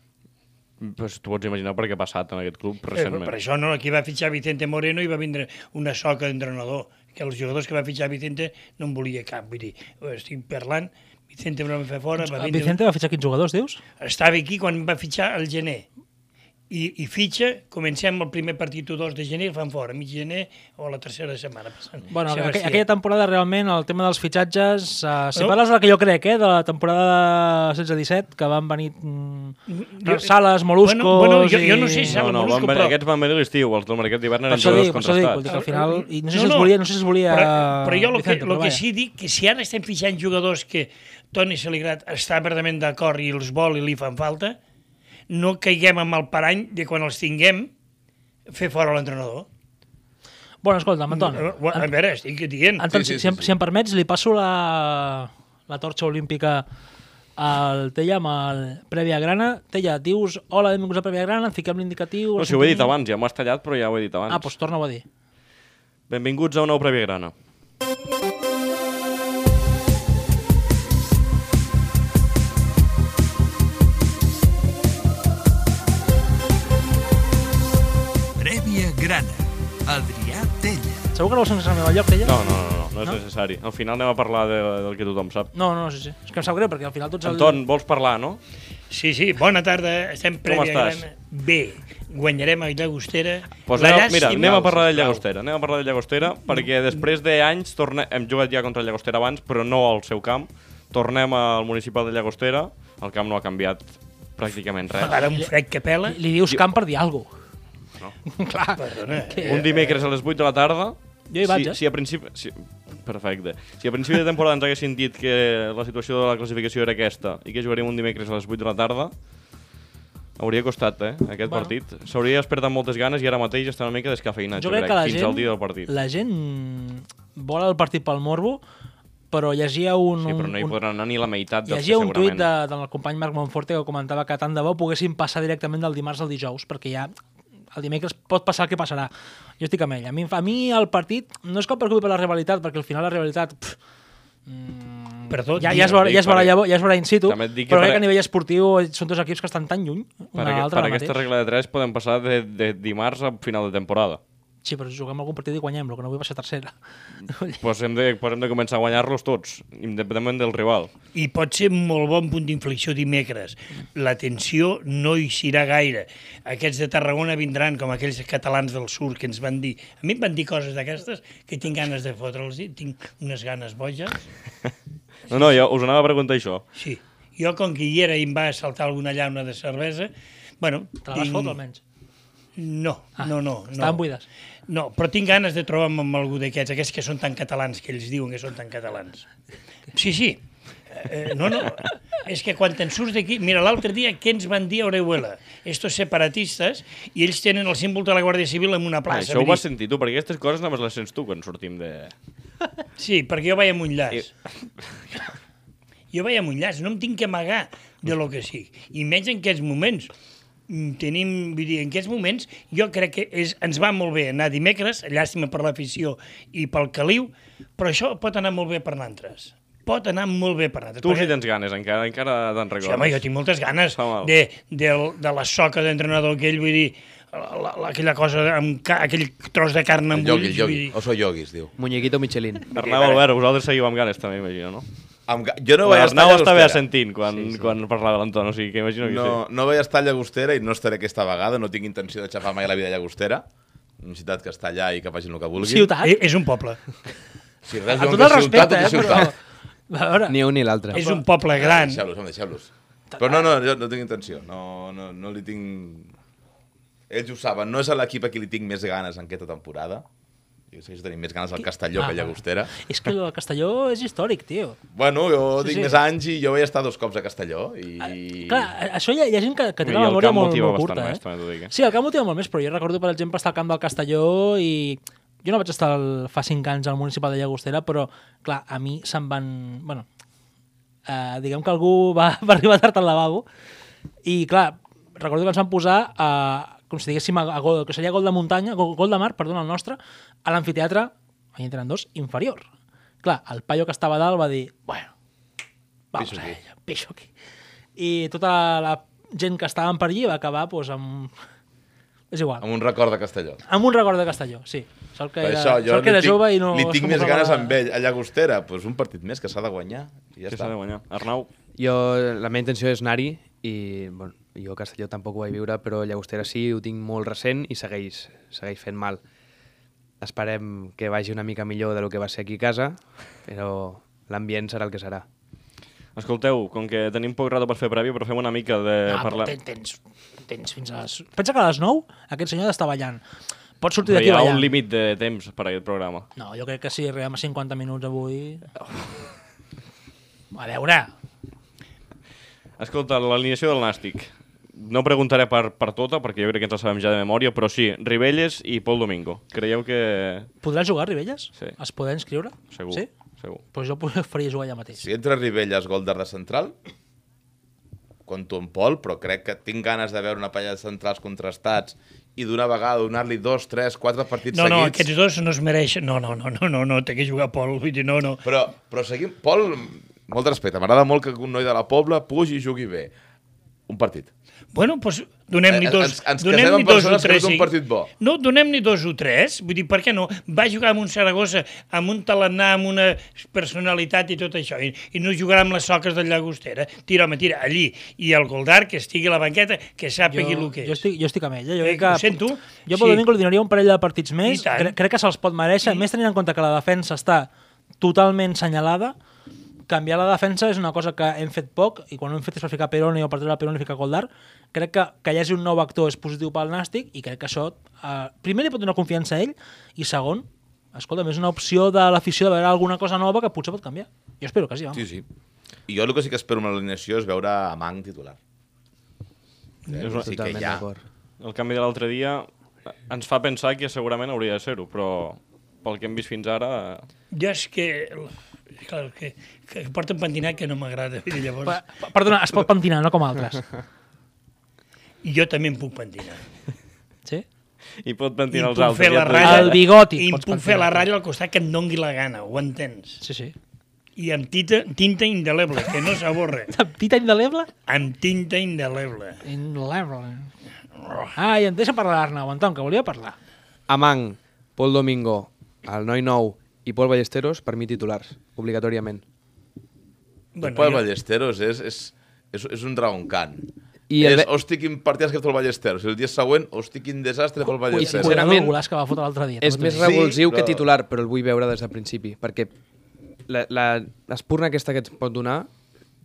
Speaker 2: Pues tu pots imaginar per què ha passat en aquest club
Speaker 4: Eh, però
Speaker 2: recentment.
Speaker 4: Per això no, aquí va fitxar Vicente Moreno i va vindre una soca d'entrenador, que els jugadors que va fitxar Vicente no en volia cap, vull dir, ho estic parlant, Vicente Moreno va fer fora, va vindre...
Speaker 3: Doncs, Vicente va fitxar quins jugadors, dius?
Speaker 4: Estava aquí quan va fitxar el gener. I, i fitxa, comencem el primer partit o dos de gener, el fan fora, mig gener o la tercera setmana passant.
Speaker 3: Bueno, aqu
Speaker 4: Sebastià.
Speaker 3: aquella temporada realment el tema dels fitxatges, uh, si
Speaker 4: No.
Speaker 3: parles del que jo crec, eh, de la temporada 16-17, que van venir mm,
Speaker 4: Jo-
Speaker 3: Sales, Moluscos...
Speaker 4: Bueno, bueno, jo- jo no sé si-
Speaker 2: No, no,
Speaker 4: Molusco,
Speaker 2: van venir,
Speaker 4: però-
Speaker 2: aquests van venir a l'estiu, els del mercat d'hivern
Speaker 3: Per
Speaker 2: eren
Speaker 3: això dic,
Speaker 2: jugadors
Speaker 3: per això dic, vull dir
Speaker 2: contrastats.
Speaker 3: que al final... I no sé si els volia... No sé si els volia
Speaker 4: Però, però jo el que,
Speaker 3: Vicente,
Speaker 4: el
Speaker 3: però
Speaker 4: que
Speaker 3: vaja.
Speaker 4: sí dic, que si ara estem fitxant jugadors que Toni Saligrat està verdament d'acord i els vol i li fan falta, no caiguem amb el parany de quan els tinguem fer fora l'entrenador.
Speaker 3: Bueno, escolta'm,
Speaker 4: A
Speaker 3: Anton,
Speaker 4: a veure, estic dient.
Speaker 3: Anton,
Speaker 6: Sí, sí,
Speaker 3: si, em,
Speaker 6: sí, sí.
Speaker 3: si em permets, li passo la, la torxa olímpica al Tella amb el Prèvia Grana. Tella, dius, hola, benvinguts a Prèvia Grana, fiquem l'indicatiu...
Speaker 2: No,
Speaker 3: la
Speaker 2: si ho he dit
Speaker 3: sintonia.
Speaker 2: abans, ja m'ho has tallat, però ja ho he dit abans.
Speaker 3: Ah, doncs torna-ho a dir.
Speaker 2: Benvinguts a una nou prèvia grana.
Speaker 1: Prèvia Grana. Adrià Tella.
Speaker 3: Segur que no vols ensenyar el meu lloc, Tella?
Speaker 2: No, no, no, no, no és
Speaker 3: No?
Speaker 2: necessari. Al final anem a parlar de, del que tothom sap.
Speaker 3: No, no, sí, sí. És que em sap greu, perquè al final tots... el-
Speaker 2: Anton, vols parlar, no?
Speaker 4: Sí, sí, bona tarda, estem prèvia
Speaker 2: estàs?
Speaker 4: Gran. Bé, guanyarem a Llagostera.
Speaker 2: Pues
Speaker 4: La
Speaker 2: anem,
Speaker 4: llàstima-
Speaker 2: mira, anem a parlar de Llagostera. Anem a parlar de Llagostera,
Speaker 3: Mm.
Speaker 2: perquè després de anys torna... hem jugat ja contra el Llagostera abans, però no al seu camp. Tornem al municipal de Llagostera. El camp no ha canviat pràcticament res.
Speaker 4: Ara un fred que pela.
Speaker 3: Li dius camp per dir alguna cosa.
Speaker 4: Perdona.
Speaker 2: Un dimecres a les 8 de la tarda.
Speaker 3: Jo hi vaig,
Speaker 2: si,
Speaker 3: eh?
Speaker 2: si a principi... Si, perfecte. Si a principi de temporada ens haguessin dit que la situació de la classificació era aquesta i que jugaríem un dimecres a les 8 de la tarda, hauria costat, eh, aquest
Speaker 3: Bueno.
Speaker 2: partit. S'hauria despertat amb moltes ganes i ara mateix està una mica descafeïnat,
Speaker 3: Jo crec que la
Speaker 2: fins
Speaker 3: gent,
Speaker 2: al dia del partit.
Speaker 3: la gent vol el partit pel morbo, però llegia un,
Speaker 2: Sí, però no hi
Speaker 3: un, un,
Speaker 2: podran anar ni la meitat dels
Speaker 3: llegia un tuit
Speaker 2: segurament.
Speaker 3: de, del company Marc Monforte que comentava que tant de bo poguessin passar directament del dimarts al dijous, perquè ja el dimecres pot passar el que passarà. Jo estic amb ell. A mi, a mi el partit no és que em preocupi per la rivalitat, perquè al final la rivalitat... Pff,
Speaker 4: Perdó,
Speaker 3: ja, ja, es veurà, ja, es veurà, llavors- ja es veurà in situ,
Speaker 2: També et dic que
Speaker 3: però crec
Speaker 2: per-
Speaker 3: que a nivell esportiu són dos equips que estan tan lluny
Speaker 2: Per,
Speaker 3: una de
Speaker 2: aquest,
Speaker 3: l'altra
Speaker 2: per
Speaker 3: ara
Speaker 2: aquesta
Speaker 3: mateix.
Speaker 2: regla de 3 podem passar de, de dimarts a final de temporada.
Speaker 3: Sí, però juguem algun partit i guanyem, el que no vull passar a tercera. Vull dir-
Speaker 2: Pues hem de, pues hem de començar a guanyar-los tots, independentment del rival.
Speaker 4: I pot ser un molt bon punt d'inflexió dimecres. La tensió no hi serà gaire. Aquests de Tarragona vindran com aquells catalans del sud que ens van dir... A mi em van dir coses d'aquestes que tinc ganes de fotre'ls, i tinc unes ganes boges.
Speaker 2: No, no, jo us anava a preguntar això.
Speaker 4: Sí. Jo, com que hi era i em va saltar alguna llauna de cervesa, bueno...
Speaker 3: Te la vas fotre, almenys.
Speaker 4: No, no, no.
Speaker 3: Ah, Estaven
Speaker 4: no.
Speaker 3: buides.
Speaker 4: No, però tinc ganes de trobar-me amb algú d'aquests, aquests que són tan catalans, que ells diuen que són tan catalans. Sí, sí. Eh, no, no, és que quan te'n surts d'aquí... Mira, l'altre dia, què ens van dir a Orejuela? Estos separatistes, i ells tenen el símbol de la Guàrdia Civil en una
Speaker 2: Ah,
Speaker 4: plaça.
Speaker 2: això ho
Speaker 4: vull
Speaker 2: vas
Speaker 4: dir-
Speaker 2: sentir tu, perquè aquestes coses només les sents tu quan sortim de...
Speaker 4: Sí, perquè jo vaig a Montlàs. Jo vaig a Montlàs, no em tinc que amagar de lo que sí. I menys en aquests moments. mm, tenim, vull dir, en aquests moments jo crec que és, ens va molt bé anar dimecres, llàstima per l'afició i pel caliu, però això pot anar molt bé per nosaltres. Pot anar molt bé per nosaltres.
Speaker 2: Tu
Speaker 4: perquè-
Speaker 2: si tens ganes, encara, encara te'n recordes.
Speaker 4: Sí, home, jo tinc moltes ganes
Speaker 2: Fa mal.
Speaker 4: de, de, de la soca d'entrenador aquell, vull dir, la- la- la- aquella cosa, amb ca, aquell tros de carn
Speaker 6: El
Speaker 4: amb
Speaker 6: Yogui,
Speaker 4: ulls,
Speaker 6: el
Speaker 4: vull
Speaker 6: Yogui.
Speaker 4: dir...
Speaker 6: Oso Yogis, diu.
Speaker 5: Muñequito Michelin.
Speaker 2: Arnau Albert, vosaltres seguiu amb ganes també, imagino, no?
Speaker 6: Amb ga- Jo no vaig estar
Speaker 2: L'Arnau
Speaker 6: a
Speaker 2: estava
Speaker 6: Llagostera.
Speaker 2: sentint quan, sí, sí. quan parlava l'Anton, o sigui que imagino que
Speaker 6: No, no vaig estar a Llagostera i no estaré aquesta vegada, no tinc intenció de xafar mai la vida a Llagostera. Una ciutat que està allà i que facin el que vulguin.
Speaker 3: Ciutat?
Speaker 4: Eh, és un poble.
Speaker 6: Si res,
Speaker 3: A tot el
Speaker 6: diuen que és ciutat,
Speaker 3: respecte,
Speaker 6: tot
Speaker 3: eh,
Speaker 6: és ciutat.
Speaker 3: però... A veure,
Speaker 5: Ni un ni l'altre.
Speaker 4: És un poble gran.
Speaker 6: Deixeu-los, home, deixeu-los. Però no, no, jo no tinc intenció. No, no, no li tinc... Ells ho saben, no és a l'equip a qui li tinc més ganes en aquesta temporada. Jo sé que tenim més ganes al Castelló
Speaker 3: Ah,
Speaker 6: que a Llagostera.
Speaker 3: és que el Castelló és històric, tio.
Speaker 6: Bueno, jo
Speaker 3: Sí,
Speaker 6: tinc
Speaker 3: sí. Ah,
Speaker 6: més anys i jo vaig estar dos cops a Castelló. I...
Speaker 3: Clar, això hi ha, hi ha gent que, que té
Speaker 2: I
Speaker 3: la
Speaker 2: el
Speaker 3: memòria
Speaker 2: camp
Speaker 3: molt,
Speaker 2: motiva
Speaker 3: molt
Speaker 2: bastant
Speaker 3: curta,
Speaker 2: més,
Speaker 3: eh?
Speaker 2: també t'ho dic, eh?
Speaker 3: Sí, el camp motiva molt més, però jo recordo, per exemple, estar al camp del Castelló i... Jo no vaig estar el, fa 5 anys al municipal de Llagostera, però, clar, a mi se'n van... Bueno, eh, diguem que algú va, va arribar tard al lavabo i, clar, recordo que ens van posar a, com si diguéssim a, a gol, que seria gol de muntanya, gol, gol de mar, perdona, el nostre, a l'amfiteatre, allà entren dos, inferior. Clar, el paio que estava a dalt va dir, bueno, vamos
Speaker 6: Pixo
Speaker 3: a
Speaker 6: aquí.
Speaker 3: ello, pixo eh, aquí. I tota la gent que estaven per allí va acabar doncs, amb... És igual.
Speaker 6: Amb un record de Castelló.
Speaker 3: Amb un record de Castelló, sí. Sort que
Speaker 6: Per
Speaker 3: era,
Speaker 6: això, jo
Speaker 3: sort que
Speaker 6: li
Speaker 3: era
Speaker 6: tinc,
Speaker 3: jove i no...
Speaker 6: li
Speaker 3: es
Speaker 6: tinc més
Speaker 3: convocava-
Speaker 6: ganes amb ell. A Llagostera, doncs un partit més que s'ha de guanyar. I ja
Speaker 2: sí.
Speaker 6: està.
Speaker 2: S'ha de guanyar. Arnau,
Speaker 5: Jo, la meva intenció és anar-hi i, bueno, jo a Castelló tampoc ho vaig viure, però Llagostera sí, ho tinc molt recent i segueix, segueix fent mal. Esperem que vagi una mica millor del que va ser aquí a casa, però l'ambient serà el que serà.
Speaker 2: escolteu, com que tenim poc rato per fer prèvia, però fem una mica de
Speaker 6: eh,
Speaker 3: Ah,
Speaker 2: parlar...
Speaker 3: parla... tens, tens, tens fins a... les- Pensa que a les 9 aquest senyor ha d'estar ballant. Pot sortir
Speaker 2: Però
Speaker 3: d'aquí
Speaker 2: hi ha
Speaker 3: ballant.
Speaker 2: un límit de temps per a aquest programa.
Speaker 3: No, jo crec que si arribem a 50 minuts avui... A veure,
Speaker 2: Escolta, l'alineació del Nàstic. No preguntaré per, per tota, perquè jo crec que ens la sabem ja de memòria, però sí, Ribelles i Pol Domingo. Creieu que...
Speaker 3: podrà jugar Ribelles?
Speaker 2: Sí.
Speaker 3: Es podrà inscriure?
Speaker 2: Segur,
Speaker 3: Sí?
Speaker 2: segur.
Speaker 3: Pues jo faria jugar allà mateix.
Speaker 6: Si entra Ribelles, gol d'arda central, conto en Pol, però crec que tinc ganes de veure una palla de centrals contrastats i d'una vegada donar-li dos, tres, quatre partits
Speaker 4: No, no, aquests
Speaker 6: seguits.
Speaker 4: dos no es mereixen. No, no, no, no, no, no, té que jugar Pol, vull dir, no, no.
Speaker 6: Però, però seguim... Pol, molt respecte, m'agrada molt que un noi de la Pobla pugi i jugui bé. Un partit.
Speaker 4: Bueno, doncs donem-li
Speaker 6: Eh,
Speaker 4: dos,
Speaker 6: ens- ens casem
Speaker 4: donem-li
Speaker 6: amb
Speaker 4: dos o
Speaker 6: persones que
Speaker 4: tres.
Speaker 6: és un
Speaker 4: sí.
Speaker 6: partit bo.
Speaker 4: No, donem-li dos o tres, vull dir, per què no? Va jugar amb un Saragossa, amb un Talanà, amb una personalitat i tot això, i, i no jugarà amb les soques de Llagostera. Tira, home, tira, allí. I el Goldar, que estigui a la banqueta, que sàpigui el que és.
Speaker 3: jo, estic, jo estic amb ell. eh? Jo,
Speaker 4: Eh,
Speaker 3: crec que,
Speaker 4: ho sento.
Speaker 3: Jo pel
Speaker 4: Sí.
Speaker 3: domingo li donaria un parell de partits més.
Speaker 4: I tant.
Speaker 3: Cre crec que se'ls pot mereixer. I... Més tenint en compte que la defensa està totalment senyalada, canviar la defensa és una cosa que hem fet poc i quan ho hem fet és per ficar Peroni o per treure Peroni i ficar Goldar crec que, que hi hagi un nou actor és positiu pel Nàstic i crec que això eh, primer li pot donar confiança a ell i segon, escolta, és una opció de l'afició de veure alguna cosa nova que potser pot canviar jo espero que sí, vamos.
Speaker 6: Sí, sí. I jo el que sí que espero amb l'alineació és veure a Mang titular. Eh,
Speaker 2: És una-
Speaker 6: sí que
Speaker 5: Totalment
Speaker 6: ja.
Speaker 5: d'acord.
Speaker 2: El canvi de l'altre dia ens fa pensar que segurament hauria de ser-ho, però pel que hem vist fins ara...
Speaker 4: Jo és que... Clar, que, que porta un pentinat que no m'agrada, vull dir, llavors...
Speaker 3: Pa pa- perdona, es pot pentinar, no com altres
Speaker 4: I jo també em puc pentinar.
Speaker 3: sí?
Speaker 2: I pot
Speaker 4: I
Speaker 2: pentir
Speaker 4: em
Speaker 2: els
Speaker 4: puc
Speaker 2: altres.
Speaker 4: fer la
Speaker 2: ja t'ho dic.
Speaker 4: ratlla...
Speaker 3: El bigoti
Speaker 4: I em
Speaker 3: pots
Speaker 4: puc fer la
Speaker 3: pentinar.
Speaker 4: ratlla al costat que em dongui la gana, ho entens?
Speaker 3: sí, sí
Speaker 4: I amb tinta, tinta indeleble, que no s'avorre.
Speaker 3: Tita indeleble?
Speaker 4: Amb tinta indeleble.
Speaker 3: Indeleble. Ah, i em deixa parlar Arnau, Anton, que volia parlar.
Speaker 5: Amang, Pol Domingo, el noi nou i Pol Ballesteros, per mi titulars, obligatòriament.
Speaker 6: Bueno, Pol
Speaker 4: jo-
Speaker 6: Ballesteros és, és, és, és un dragon can. I
Speaker 5: I
Speaker 6: és,
Speaker 5: el-
Speaker 6: hosti, quin partit has fet el Ballesteros. I el dia següent, hosti, quin desastre pel
Speaker 5: I
Speaker 6: Ballesteros.
Speaker 3: Cuidado
Speaker 5: sincerament,
Speaker 3: el golaç que va fotre l'altre dia.
Speaker 5: És
Speaker 3: també
Speaker 5: més
Speaker 3: t'ho
Speaker 6: re-
Speaker 3: dic.
Speaker 5: revulsiu
Speaker 6: però-
Speaker 5: que titular, però el vull veure des del principi, perquè la- la- l'espurna aquesta que et pot donar,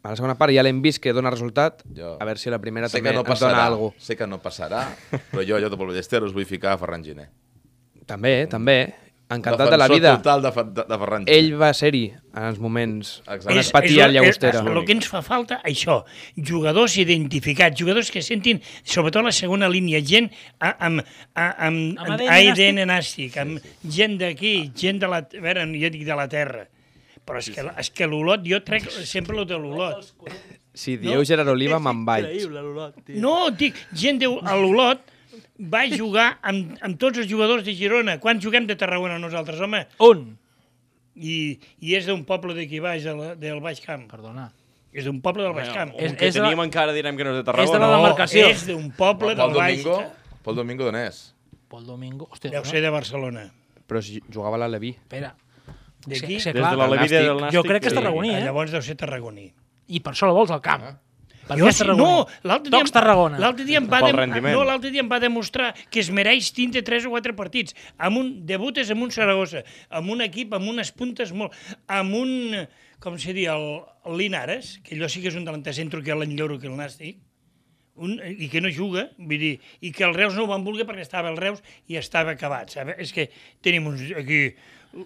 Speaker 5: a la segona part ja l'hem vist que dona resultat,
Speaker 6: Jo-
Speaker 5: a veure si a la primera
Speaker 6: sé
Speaker 5: també
Speaker 6: que no
Speaker 5: ens dona
Speaker 6: passarà,
Speaker 5: alguna
Speaker 6: sé que no passarà, però jo allò de Pol Ballesteros vull ficar a Ferran Giner.
Speaker 5: També, també. Encantat de la
Speaker 6: Defensor
Speaker 5: vida.
Speaker 6: total de, Fer- de, de Ferran Giner.
Speaker 5: Ell va ser-hi en els moments
Speaker 6: Exacte.
Speaker 5: on
Speaker 6: És-
Speaker 5: es patia el Llagostera.
Speaker 4: El que ens fa falta, això, jugadors identificats, jugadors que sentin, sobretot la segona línia, gent a- amb, a- amb,
Speaker 3: Amb
Speaker 4: amb
Speaker 3: ADN
Speaker 4: ADN nàstic, amb gent d'aquí, gent de la, a veure, jo dic de la terra, però és que, és que l'Olot, jo trec sempre el de l'Olot.
Speaker 5: Si dieu Gerard Oliva, me'n vaig.
Speaker 7: Increïble, l'Olot, tio.
Speaker 4: No, dic, gent deu, a l'Olot va jugar amb, amb tots els jugadors de Girona. Quan juguem de Tarragona nosaltres, home?
Speaker 3: On?
Speaker 4: I, i és d'un poble d'aquí baix, de la, del Baix Camp.
Speaker 3: Perdona.
Speaker 4: És d'un poble del Baix Camp.
Speaker 2: És,
Speaker 3: És-
Speaker 2: que
Speaker 3: és la-
Speaker 2: tenim encara direm que no és de
Speaker 3: és de
Speaker 2: Tarragona.
Speaker 3: la
Speaker 2: No.
Speaker 3: demarcació.
Speaker 4: és d'un poble
Speaker 6: Pol
Speaker 4: del Baix
Speaker 6: Domingo,
Speaker 4: Camp.
Speaker 6: Pol Domingo d'on és?
Speaker 3: Pol Domingo... Hòstia,
Speaker 4: Deu
Speaker 3: no?
Speaker 4: ser de Barcelona.
Speaker 5: Però si jugava a la Leví.
Speaker 3: Espera.
Speaker 4: D'aquí?
Speaker 3: Ser- ser
Speaker 2: Des
Speaker 3: clar.
Speaker 2: de la Levida
Speaker 5: Nàstic.
Speaker 2: del Nàstic.
Speaker 3: Jo crec que és
Speaker 2: sí.
Speaker 3: tarragoní,
Speaker 4: Ah,
Speaker 3: eh?
Speaker 4: llavors deu ser tarragoní.
Speaker 3: I per això la vols al camp. Per
Speaker 4: Ah. Jo
Speaker 3: què és
Speaker 4: sí-
Speaker 3: tarragoní?
Speaker 4: No, l'altre dia,
Speaker 3: Tocs Tarragona.
Speaker 4: l'altre dia, em va
Speaker 2: Pel
Speaker 4: dem-
Speaker 2: rendiment.
Speaker 4: no, l'altre dia em va demostrar que es mereix tindre 3 o 4 partits. Amb un debutes amb un Saragossa, amb un equip, amb unes puntes molt... Amb un, com se diu, el, el Linares, que allò sí que és un delanter centro que l'enlloro que el nàstic, un, i que no juga, vull dir, i que el Reus no ho van voler perquè estava el Reus i estava acabat, saps? És que tenim uns, aquí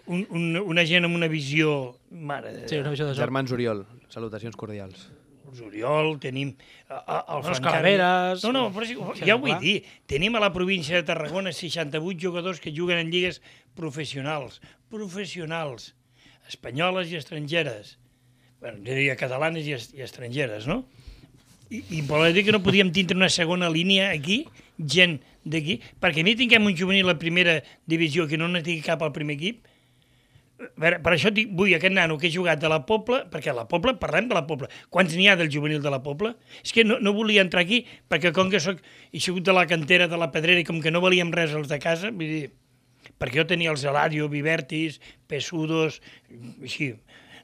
Speaker 4: un, un, una gent amb una visió, mare de
Speaker 3: Sí, una visió de joc.
Speaker 5: Germans Oriol, salutacions cordials.
Speaker 4: els Oriol, tenim a, a, el
Speaker 3: Els
Speaker 4: Frank
Speaker 3: Calaveres.
Speaker 4: No, no, però sí,
Speaker 3: Sí,
Speaker 4: ja ho vull
Speaker 3: clar.
Speaker 4: dir. Tenim a la província de Tarragona 68 jugadors que juguen en lligues professionals, professionals, espanyoles i estrangeres. Bé, jo diria catalanes i, es- i estrangeres, no? I, i volia dir que no podíem tindre una segona línia aquí, gent d'aquí, perquè ni tinguem un juvenil a primera divisió que no n'estigui cap al primer equip, a veure, per això dic, vull aquest nano que he jugat de la Pobla, perquè a la Pobla, parlem de la Pobla, quants n'hi ha del juvenil de la Pobla? És que no, no volia entrar aquí, perquè com que soc, he sigut de la cantera de la Pedrera i com que no valíem res els de casa, vull dir, perquè jo tenia els Eladio, Vivertis, Pesudos, així,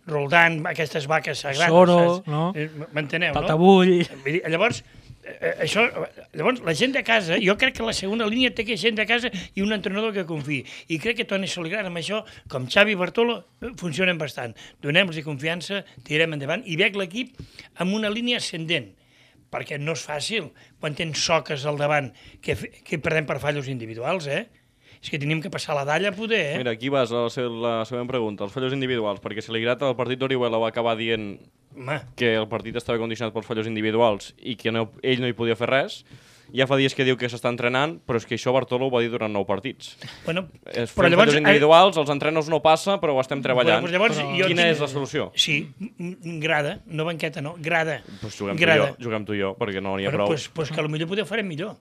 Speaker 4: Roldán, aquestes vaques sagrades.
Speaker 3: Soro,
Speaker 4: saps?
Speaker 3: no?
Speaker 4: Eh, M'enteneu, no?
Speaker 3: Patabull.
Speaker 4: Vull dir, llavors, eh, això, llavors, la gent de casa, jo crec que la segona línia té que gent de casa i un entrenador que confiï. I crec que Toni Solgran amb això, com Xavi i Bartolo, eh, funcionen bastant. Donem-los confiança, tirem endavant i veig l'equip amb una línia ascendent perquè no és fàcil quan tens soques al davant que, fe- que perdem per fallos individuals, eh? És que tenim que passar la dalla a poder, eh?
Speaker 2: Mira, aquí vas a la, seu, la següent pregunta. Els fallos individuals, perquè si li grata el partit d'Orihuela va acabar dient
Speaker 4: Home,
Speaker 2: que el partit estava condicionat pels fallos individuals i que no, ell no hi podia fer res, ja fa dies que diu que s'està entrenant, però és que això Bartolo ho va dir durant nou partits.
Speaker 4: bueno,
Speaker 2: Es
Speaker 4: però
Speaker 2: fan
Speaker 4: llavors... eh,
Speaker 2: fallos individuals, els entrenos no passa, però ho estem treballant.
Speaker 4: Bueno, doncs llavors jo
Speaker 2: Quina
Speaker 4: tinc-
Speaker 2: és la solució?
Speaker 4: Sí, m- m- grada, no banqueta, no, grada.
Speaker 2: Pues juguem, tu i jo,
Speaker 4: grada.
Speaker 2: juguem tu i jo, perquè no n'hi ha
Speaker 4: Bueno,
Speaker 2: prou.
Speaker 4: pues, pues que potser poder ho farem millor.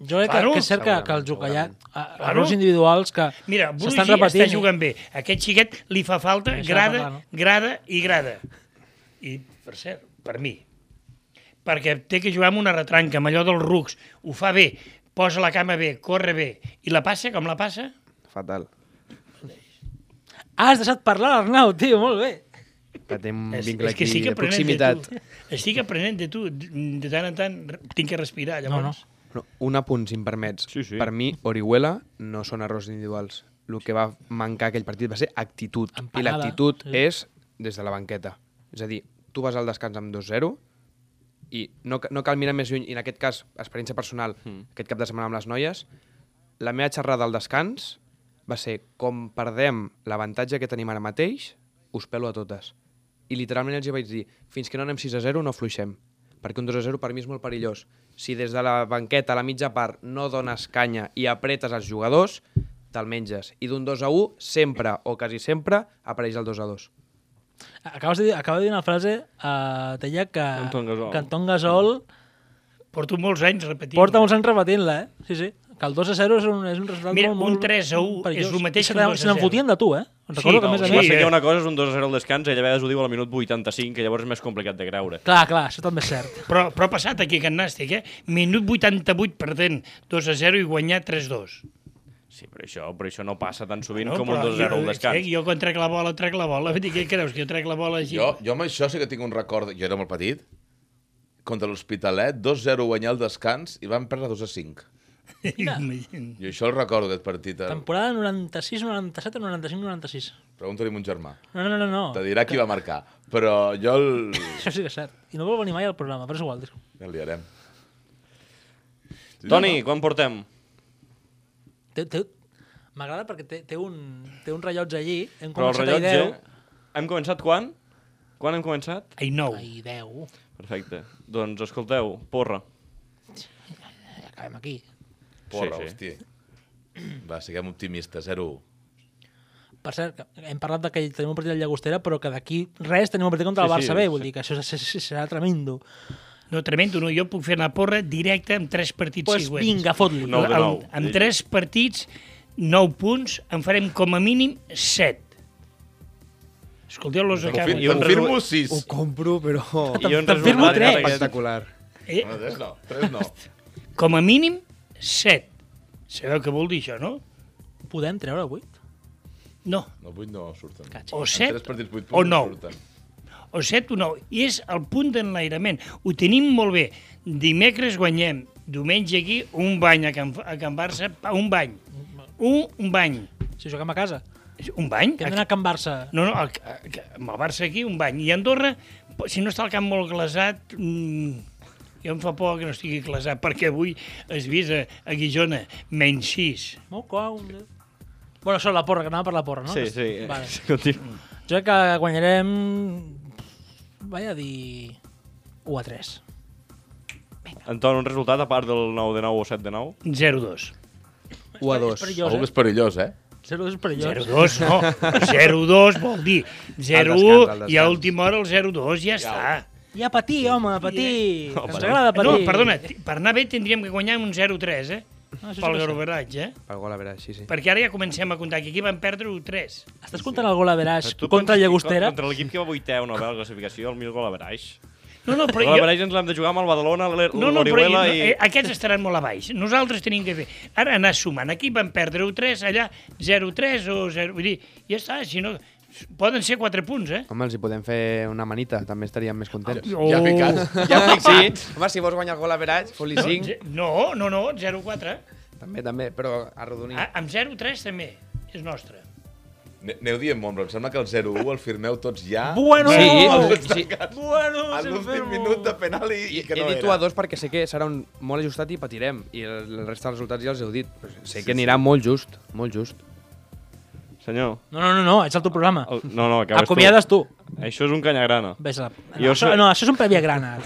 Speaker 3: Jo crec que,
Speaker 4: Claro.
Speaker 3: que és cert que, que el Jucallat,
Speaker 4: Claro.
Speaker 3: errors individuals que
Speaker 4: Mira, Brugi
Speaker 3: s'estan
Speaker 4: està
Speaker 3: repetint. eh?
Speaker 4: jugant bé. Aquest xiquet li fa falta
Speaker 3: Això
Speaker 4: grada,
Speaker 3: parlar, no?
Speaker 4: grada i grada. I, per cert, per mi, perquè té que jugar amb una retranca, amb allò dels rucs, ho fa bé, posa la cama bé, corre bé, i la passa com la passa?
Speaker 5: Fatal.
Speaker 3: Ah, has deixat parlar l'Arnau, tio, molt bé.
Speaker 5: Que té un
Speaker 4: És,
Speaker 5: vincle
Speaker 4: és que
Speaker 5: aquí
Speaker 4: estic
Speaker 5: de
Speaker 4: aprenent
Speaker 5: proximitat.
Speaker 4: de tu. Estic aprenent de tu. De tant en tant re- tinc que respirar,
Speaker 3: No,
Speaker 4: llavors.
Speaker 3: no.
Speaker 5: No, un apunt, si em permets.
Speaker 2: Sí, sí.
Speaker 5: Per mi, Orihuela no són errors individuals. El que va mancar aquell partit va ser actitud. I
Speaker 3: Empanada,
Speaker 5: l'actitud
Speaker 3: sí.
Speaker 5: és des de la banqueta. És a dir, tu vas al descans amb 2-0 i no, ca- no cal mirar més lluny. I en aquest cas, experiència personal,
Speaker 2: Hmm.
Speaker 5: aquest cap de setmana amb les noies, la meva xerrada al descans va ser com perdem l'avantatge que tenim ara mateix, us pelo a totes. I literalment els hi vaig dir, fins que no anem 6 a 0 no fluixem, perquè un 2 a 0 per mi és molt perillós. Si des de la banqueta a la mitja part no dones canya i apretes els jugadors, te'l menges. I d'un 2 a 1 sempre, o quasi sempre, apareix el 2 a 2.
Speaker 3: Acabes de dir, acaba de dir una frase a uh, Tella que,
Speaker 2: Anton Gasol.
Speaker 3: que Anton Gasol
Speaker 4: Porto molts anys repetint.
Speaker 3: porta molts anys repetint-la, eh? Sí, sí. Que el 2 a 0 és un, és un resultat
Speaker 4: Mira,
Speaker 3: molt,
Speaker 4: un
Speaker 3: molt
Speaker 4: 3 a 1 és
Speaker 3: perillós.
Speaker 4: el
Speaker 3: I
Speaker 4: mateix
Speaker 3: se
Speaker 4: que
Speaker 3: n'en-
Speaker 4: un 2 a
Speaker 3: Se n'en
Speaker 4: 0.
Speaker 3: fotien de tu, eh? Em recordo
Speaker 4: Sí,
Speaker 3: que, a
Speaker 4: no,
Speaker 3: més a
Speaker 4: sí.
Speaker 3: més...
Speaker 2: Passa que
Speaker 4: eh.
Speaker 2: una cosa és un 2-0 al descans i llavors ho diu a la minut 85, que llavors és més complicat de creure.
Speaker 3: Clar, clar, això també és cert.
Speaker 4: Però, però ha passat aquí aquest nàstic, eh? Minut 88 perdent 2 a 0 i guanyar 3 a 2.
Speaker 2: Sí, però això, però això no passa tan sovint
Speaker 4: No,
Speaker 2: com un
Speaker 4: però
Speaker 2: 2-0
Speaker 4: jo- eh,
Speaker 2: al descans.
Speaker 4: Jo, quan trec la bola, trec la bola. Vull dir, què creus, que jo trec la bola així?
Speaker 6: Jo, jo amb això sí que tinc un record, jo era molt petit, contra l'Hospitalet, 2-0 guanyar el descans i van perdre 2-5. Jo això el recordo, aquest partit. eh?
Speaker 3: Temporada 96, 97 o 95, 96.
Speaker 6: Pregunta-li a mon germà.
Speaker 3: No, no, no,
Speaker 6: Te
Speaker 3: no.
Speaker 6: dirà qui va marcar. Però jo el...
Speaker 3: Això sí que és cert. I no vol venir mai al programa, però és igual. disculpa.
Speaker 6: El liarem.
Speaker 2: Toni, quan portem?
Speaker 3: Té, té, M'agrada perquè té, té, un, té un rellotge allí. Hem
Speaker 2: Però el
Speaker 3: començat a
Speaker 2: rellotge...
Speaker 3: 10.
Speaker 2: Hem començat quan? Quan hem començat?
Speaker 4: Ai, nou.
Speaker 3: Ai, 10.
Speaker 2: Perfecte. Doncs escolteu, porra.
Speaker 3: Ja acabem aquí.
Speaker 6: Porra,
Speaker 2: Sí, sí.
Speaker 6: sí, sí. hòstia. Va, siguem optimistes, 0-1.
Speaker 3: Per cert, que hem parlat de que tenim un partit de Llagostera, però que d'aquí res tenim un partit contra el
Speaker 2: Sí, sí,
Speaker 3: Barça B,
Speaker 2: sí.
Speaker 3: vull dir que això és- és- és- serà tremendo.
Speaker 4: No, tremendo, no. Jo puc fer una porra directa amb tres partits
Speaker 3: Doncs pues
Speaker 4: següents.
Speaker 3: vinga, fot-li.
Speaker 2: No. Nou de nou.
Speaker 4: Amb, amb tres partits, nou punts, en farem com a mínim set. Escolteu-los a
Speaker 6: Confir
Speaker 4: cara.
Speaker 2: I un
Speaker 6: confirmo
Speaker 2: resu-
Speaker 6: sis.
Speaker 5: Ho compro, però...
Speaker 2: I un
Speaker 3: te'n firmo
Speaker 2: resultat
Speaker 3: tres.
Speaker 2: aquest-
Speaker 5: Espectacular.
Speaker 4: Eh,
Speaker 6: No, tres no, tres no.
Speaker 4: com a mínim, set. Sabeu què vol dir això, no?
Speaker 3: Podem treure vuit?
Speaker 4: No,
Speaker 6: No, vuit no surten.
Speaker 4: o
Speaker 6: En
Speaker 4: set,
Speaker 6: tres partits, vuit
Speaker 4: o
Speaker 6: punts no
Speaker 4: nou.
Speaker 6: surten.
Speaker 4: o set o nou. I és el punt d'enlairament. Ho tenim molt bé. Dimecres guanyem, diumenge aquí, un bany a Can, a Can Barça, pa, un bany. Un, un bany.
Speaker 3: Si juguem a casa.
Speaker 4: Un bany?
Speaker 3: Que hem d'anar a Can Barça.
Speaker 4: No, no, el, el, amb el Barça aquí, un bany. I Andorra, po- si no està el camp molt glasat, mmm, jo em fa por que no estigui glasat, perquè avui es vist a, a Guijona, menys 6.
Speaker 3: Molt clar.
Speaker 4: eh?
Speaker 3: Un... Bueno, això, la porra, que anava per la porra, no?
Speaker 2: Sí, sí.
Speaker 3: Vale.
Speaker 2: Continu-
Speaker 3: Jo crec que guanyarem... Vaig a dir... 1 a 3.
Speaker 2: Anton, un resultat a part del 9 de 9 o 7 de 9?
Speaker 4: 0-2.
Speaker 5: 1 a 2.
Speaker 3: És
Speaker 6: Segur que
Speaker 3: perillós, eh?
Speaker 6: és perillós, eh?
Speaker 3: 0 és perillós.
Speaker 4: 0-2, no. 0-2 vol dir
Speaker 5: Al
Speaker 4: 0-1
Speaker 5: descans, al
Speaker 4: i a
Speaker 5: descans.
Speaker 4: última hora el 0-2 ja està.
Speaker 3: I a patir, home, a patir. Que ens
Speaker 2: patir.
Speaker 3: agrada patir.
Speaker 4: eh? No, perdona, t- per anar bé tindríem que guanyar un 0-3, eh?
Speaker 3: No, això sí que és
Speaker 4: Pel
Speaker 3: cert.
Speaker 4: Garoberatge, eh?
Speaker 5: Pel gol a veure, sí, sí.
Speaker 4: Perquè ara ja comencem a comptar que aquí van perdre un 3.
Speaker 3: Estàs comptant el gol a Veraix
Speaker 2: Tu
Speaker 3: contra
Speaker 2: penses-
Speaker 3: Llagostera?
Speaker 2: Contra l'equip que va 8 o 9 a la classificació, el millor gol a Baraix.
Speaker 4: No, no,
Speaker 2: Però
Speaker 4: però
Speaker 2: gol a
Speaker 4: jo,
Speaker 2: Baraix ens l'hem de jugar amb el Badalona, l'E-
Speaker 4: No, no, però
Speaker 2: l'Orihuela
Speaker 4: no,
Speaker 2: i...
Speaker 4: eh, aquests estaran molt a baix. Nosaltres tenim que fer... Ara anar sumant. Aquí van perdre 1-3, allà 0-3 o 0... Vull dir, ja està, si no... Poden ser 4 punts, eh?
Speaker 5: Home, els hi podem fer una manita, també estaríem més contents.
Speaker 6: Ja ficat.
Speaker 5: Ja fic, sí. Home, si vols guanyar el gol a veratge, fot-li
Speaker 4: No, ze- no, no, no 0-4.
Speaker 5: També, també, però arrodonir.
Speaker 6: Ah,
Speaker 4: A- Amb 0-3 també és nostre.
Speaker 6: Ne- Aneu dient molt, però em sembla que el 0-1 el firmeu tots ja.
Speaker 3: Bueno!
Speaker 5: Sí, sí.
Speaker 3: Bueno,
Speaker 6: A
Speaker 3: se
Speaker 6: l'últim
Speaker 3: enfermo.
Speaker 6: minut de penal i, i que
Speaker 5: He
Speaker 6: no
Speaker 5: dit 1
Speaker 6: era.
Speaker 5: a 2 perquè sé que serà un molt ajustat i patirem. I el el resta dels resultats ja els heu dit. Però Sé que anirà molt just, molt just.
Speaker 2: Senyor,
Speaker 3: No, no, no, no, ets el teu programa.
Speaker 2: el... no, no, acabes
Speaker 3: Acomiades tu.
Speaker 2: tu. Això és un canyagrana.
Speaker 3: Ves a la...
Speaker 2: Jo
Speaker 3: No, això,
Speaker 2: sé-
Speaker 3: no, això és un prèvia grana.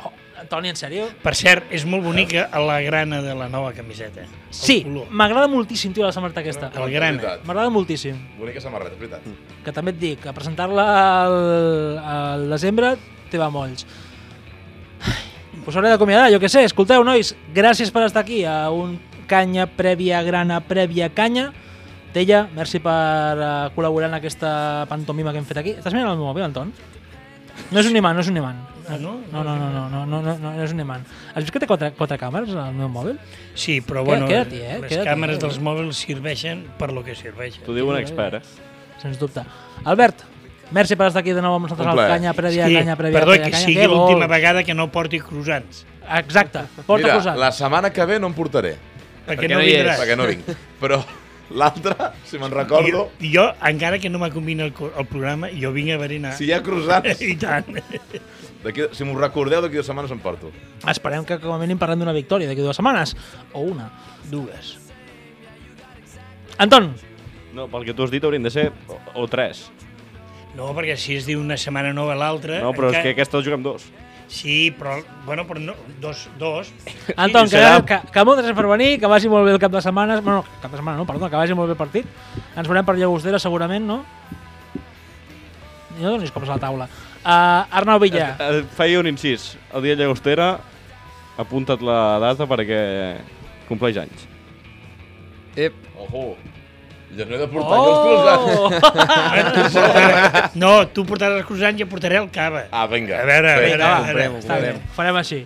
Speaker 3: Oh, Antoni, en sèrio?
Speaker 4: Per cert, és molt bonica la grana de la nova camiseta. El
Speaker 3: Sí,
Speaker 4: color.
Speaker 3: m'agrada moltíssim, tio, la samarreta aquesta.
Speaker 4: El grana.
Speaker 6: Veritat.
Speaker 3: M'agrada moltíssim.
Speaker 6: Bonica samarreta, és veritat.
Speaker 3: Que també et dic, a presentar-la al, al desembre te va molts. Us hauré d'acomiadar, jo que sé. Escolteu, nois, gràcies per estar aquí a un canya prèvia grana prèvia canya. Tella, merci per eh, col·laborar en aquesta pantomima que hem fet aquí. Estàs mirant el meu mòbil, Anton? No és un imant, no és un imant.
Speaker 4: Ah, no?
Speaker 3: No, no, no, no, no, no, no, no és un imant. Has vist que té quatre, quatre càmeres al meu mòbil?
Speaker 4: Sí, però
Speaker 3: Queda-
Speaker 4: bueno,
Speaker 3: queda-t'hi, eh?
Speaker 4: les
Speaker 3: Queda-t'hi.
Speaker 4: càmeres dels mòbils serveixen per lo que serveixen.
Speaker 2: T'ho diu un expert, eh?
Speaker 3: Sens dubte. Albert, merci per estar aquí de nou amb nosaltres
Speaker 6: Un
Speaker 3: al
Speaker 6: plaer.
Speaker 3: Canya Prèvia,
Speaker 4: Sí,
Speaker 3: Canya Prèvia,
Speaker 4: perdó,
Speaker 3: Canya,
Speaker 4: que
Speaker 3: Canya,
Speaker 4: sigui
Speaker 3: què
Speaker 4: l'última
Speaker 3: vols?
Speaker 4: vegada que no porti croissants.
Speaker 3: Exacte, porta
Speaker 6: Mira,
Speaker 3: posat.
Speaker 6: la setmana que ve no em portaré,
Speaker 4: Perquè,
Speaker 5: Perquè
Speaker 4: no
Speaker 5: no hi és,
Speaker 4: vindràs.
Speaker 6: perquè no vinc. Però l'altra, si me'n recordo,
Speaker 4: Jo, jo, encara que no m'acombina el, co- el programa, jo vinc a berenar.
Speaker 6: si hi ha croissants,
Speaker 4: I tant.
Speaker 6: d'aquí- si m'ho recordeu, d'aquí dues setmanes em porto.
Speaker 3: Esperem que com a mínim parlem d'una victòria d'aquí dues setmanes, o una.
Speaker 4: Dues.
Speaker 3: Anton,
Speaker 2: No, pel que tu has dit haurien de ser o, o 3.
Speaker 4: No, perquè si es diu una setmana no a l'altra...
Speaker 2: No, però és que
Speaker 4: encara-
Speaker 2: aquesta juguem dos.
Speaker 4: Sí, però... Bueno, però no, dos, dos.
Speaker 2: I
Speaker 3: Anton, que,
Speaker 2: serà-
Speaker 3: que, que moltes gràcies per venir, que vagi molt bé el cap de setmana, bueno, cap de setmana no, perdó, que vagi molt bé el partit. Ens veurem per Llagostera segurament, no? No donis cops a la taula. Uh, Arnau Villa,
Speaker 2: Eh, Feia un incís. El dia de Llagostera, apunta't la data perquè compleix anys.
Speaker 5: Ep,
Speaker 6: Ojo, jo no he de portar oh! els croissants.
Speaker 4: No, tu portaràs els croissants i jo portaré el cava.
Speaker 6: Ah, vinga.
Speaker 4: A veure, a
Speaker 6: Sí.
Speaker 4: veure, a veure.
Speaker 5: comprem, ho
Speaker 3: Està bé,
Speaker 5: comprem.
Speaker 3: ho farem així.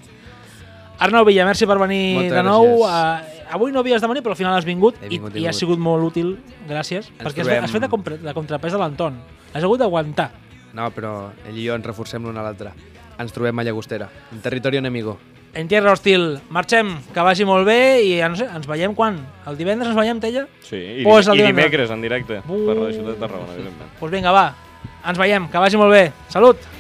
Speaker 3: Arnau Villa, merci per venir
Speaker 5: Moltes
Speaker 3: de nou.
Speaker 5: gràcies.
Speaker 3: Uh, avui no havies de venir, però al final has vingut,
Speaker 5: He
Speaker 3: i,
Speaker 5: vingut,
Speaker 3: i
Speaker 5: he
Speaker 3: ha
Speaker 5: vingut.
Speaker 3: sigut molt útil. Gràcies.
Speaker 5: Ens
Speaker 3: perquè has,
Speaker 5: trobem.
Speaker 3: has fet de, compre, de contrapès de l'Anton. Has hagut d'aguantar.
Speaker 5: No, però ell i jo ens reforcem l'un a l'altre. Ens trobem a Llagostera, en territori enemigo.
Speaker 3: En tierra hostil, marxem, que vagi molt bé i eh, no sé, ens veiem quan? El divendres ens veiem, Tella?
Speaker 2: Sí, i,
Speaker 3: Pues el
Speaker 2: i
Speaker 3: divendres.
Speaker 2: dimecres en directe.
Speaker 3: Uh.
Speaker 2: Per la Ciutat de Tarragona, evidentment.
Speaker 3: Doncs pues vinga, va, ens veiem, que vagi molt bé. Salut!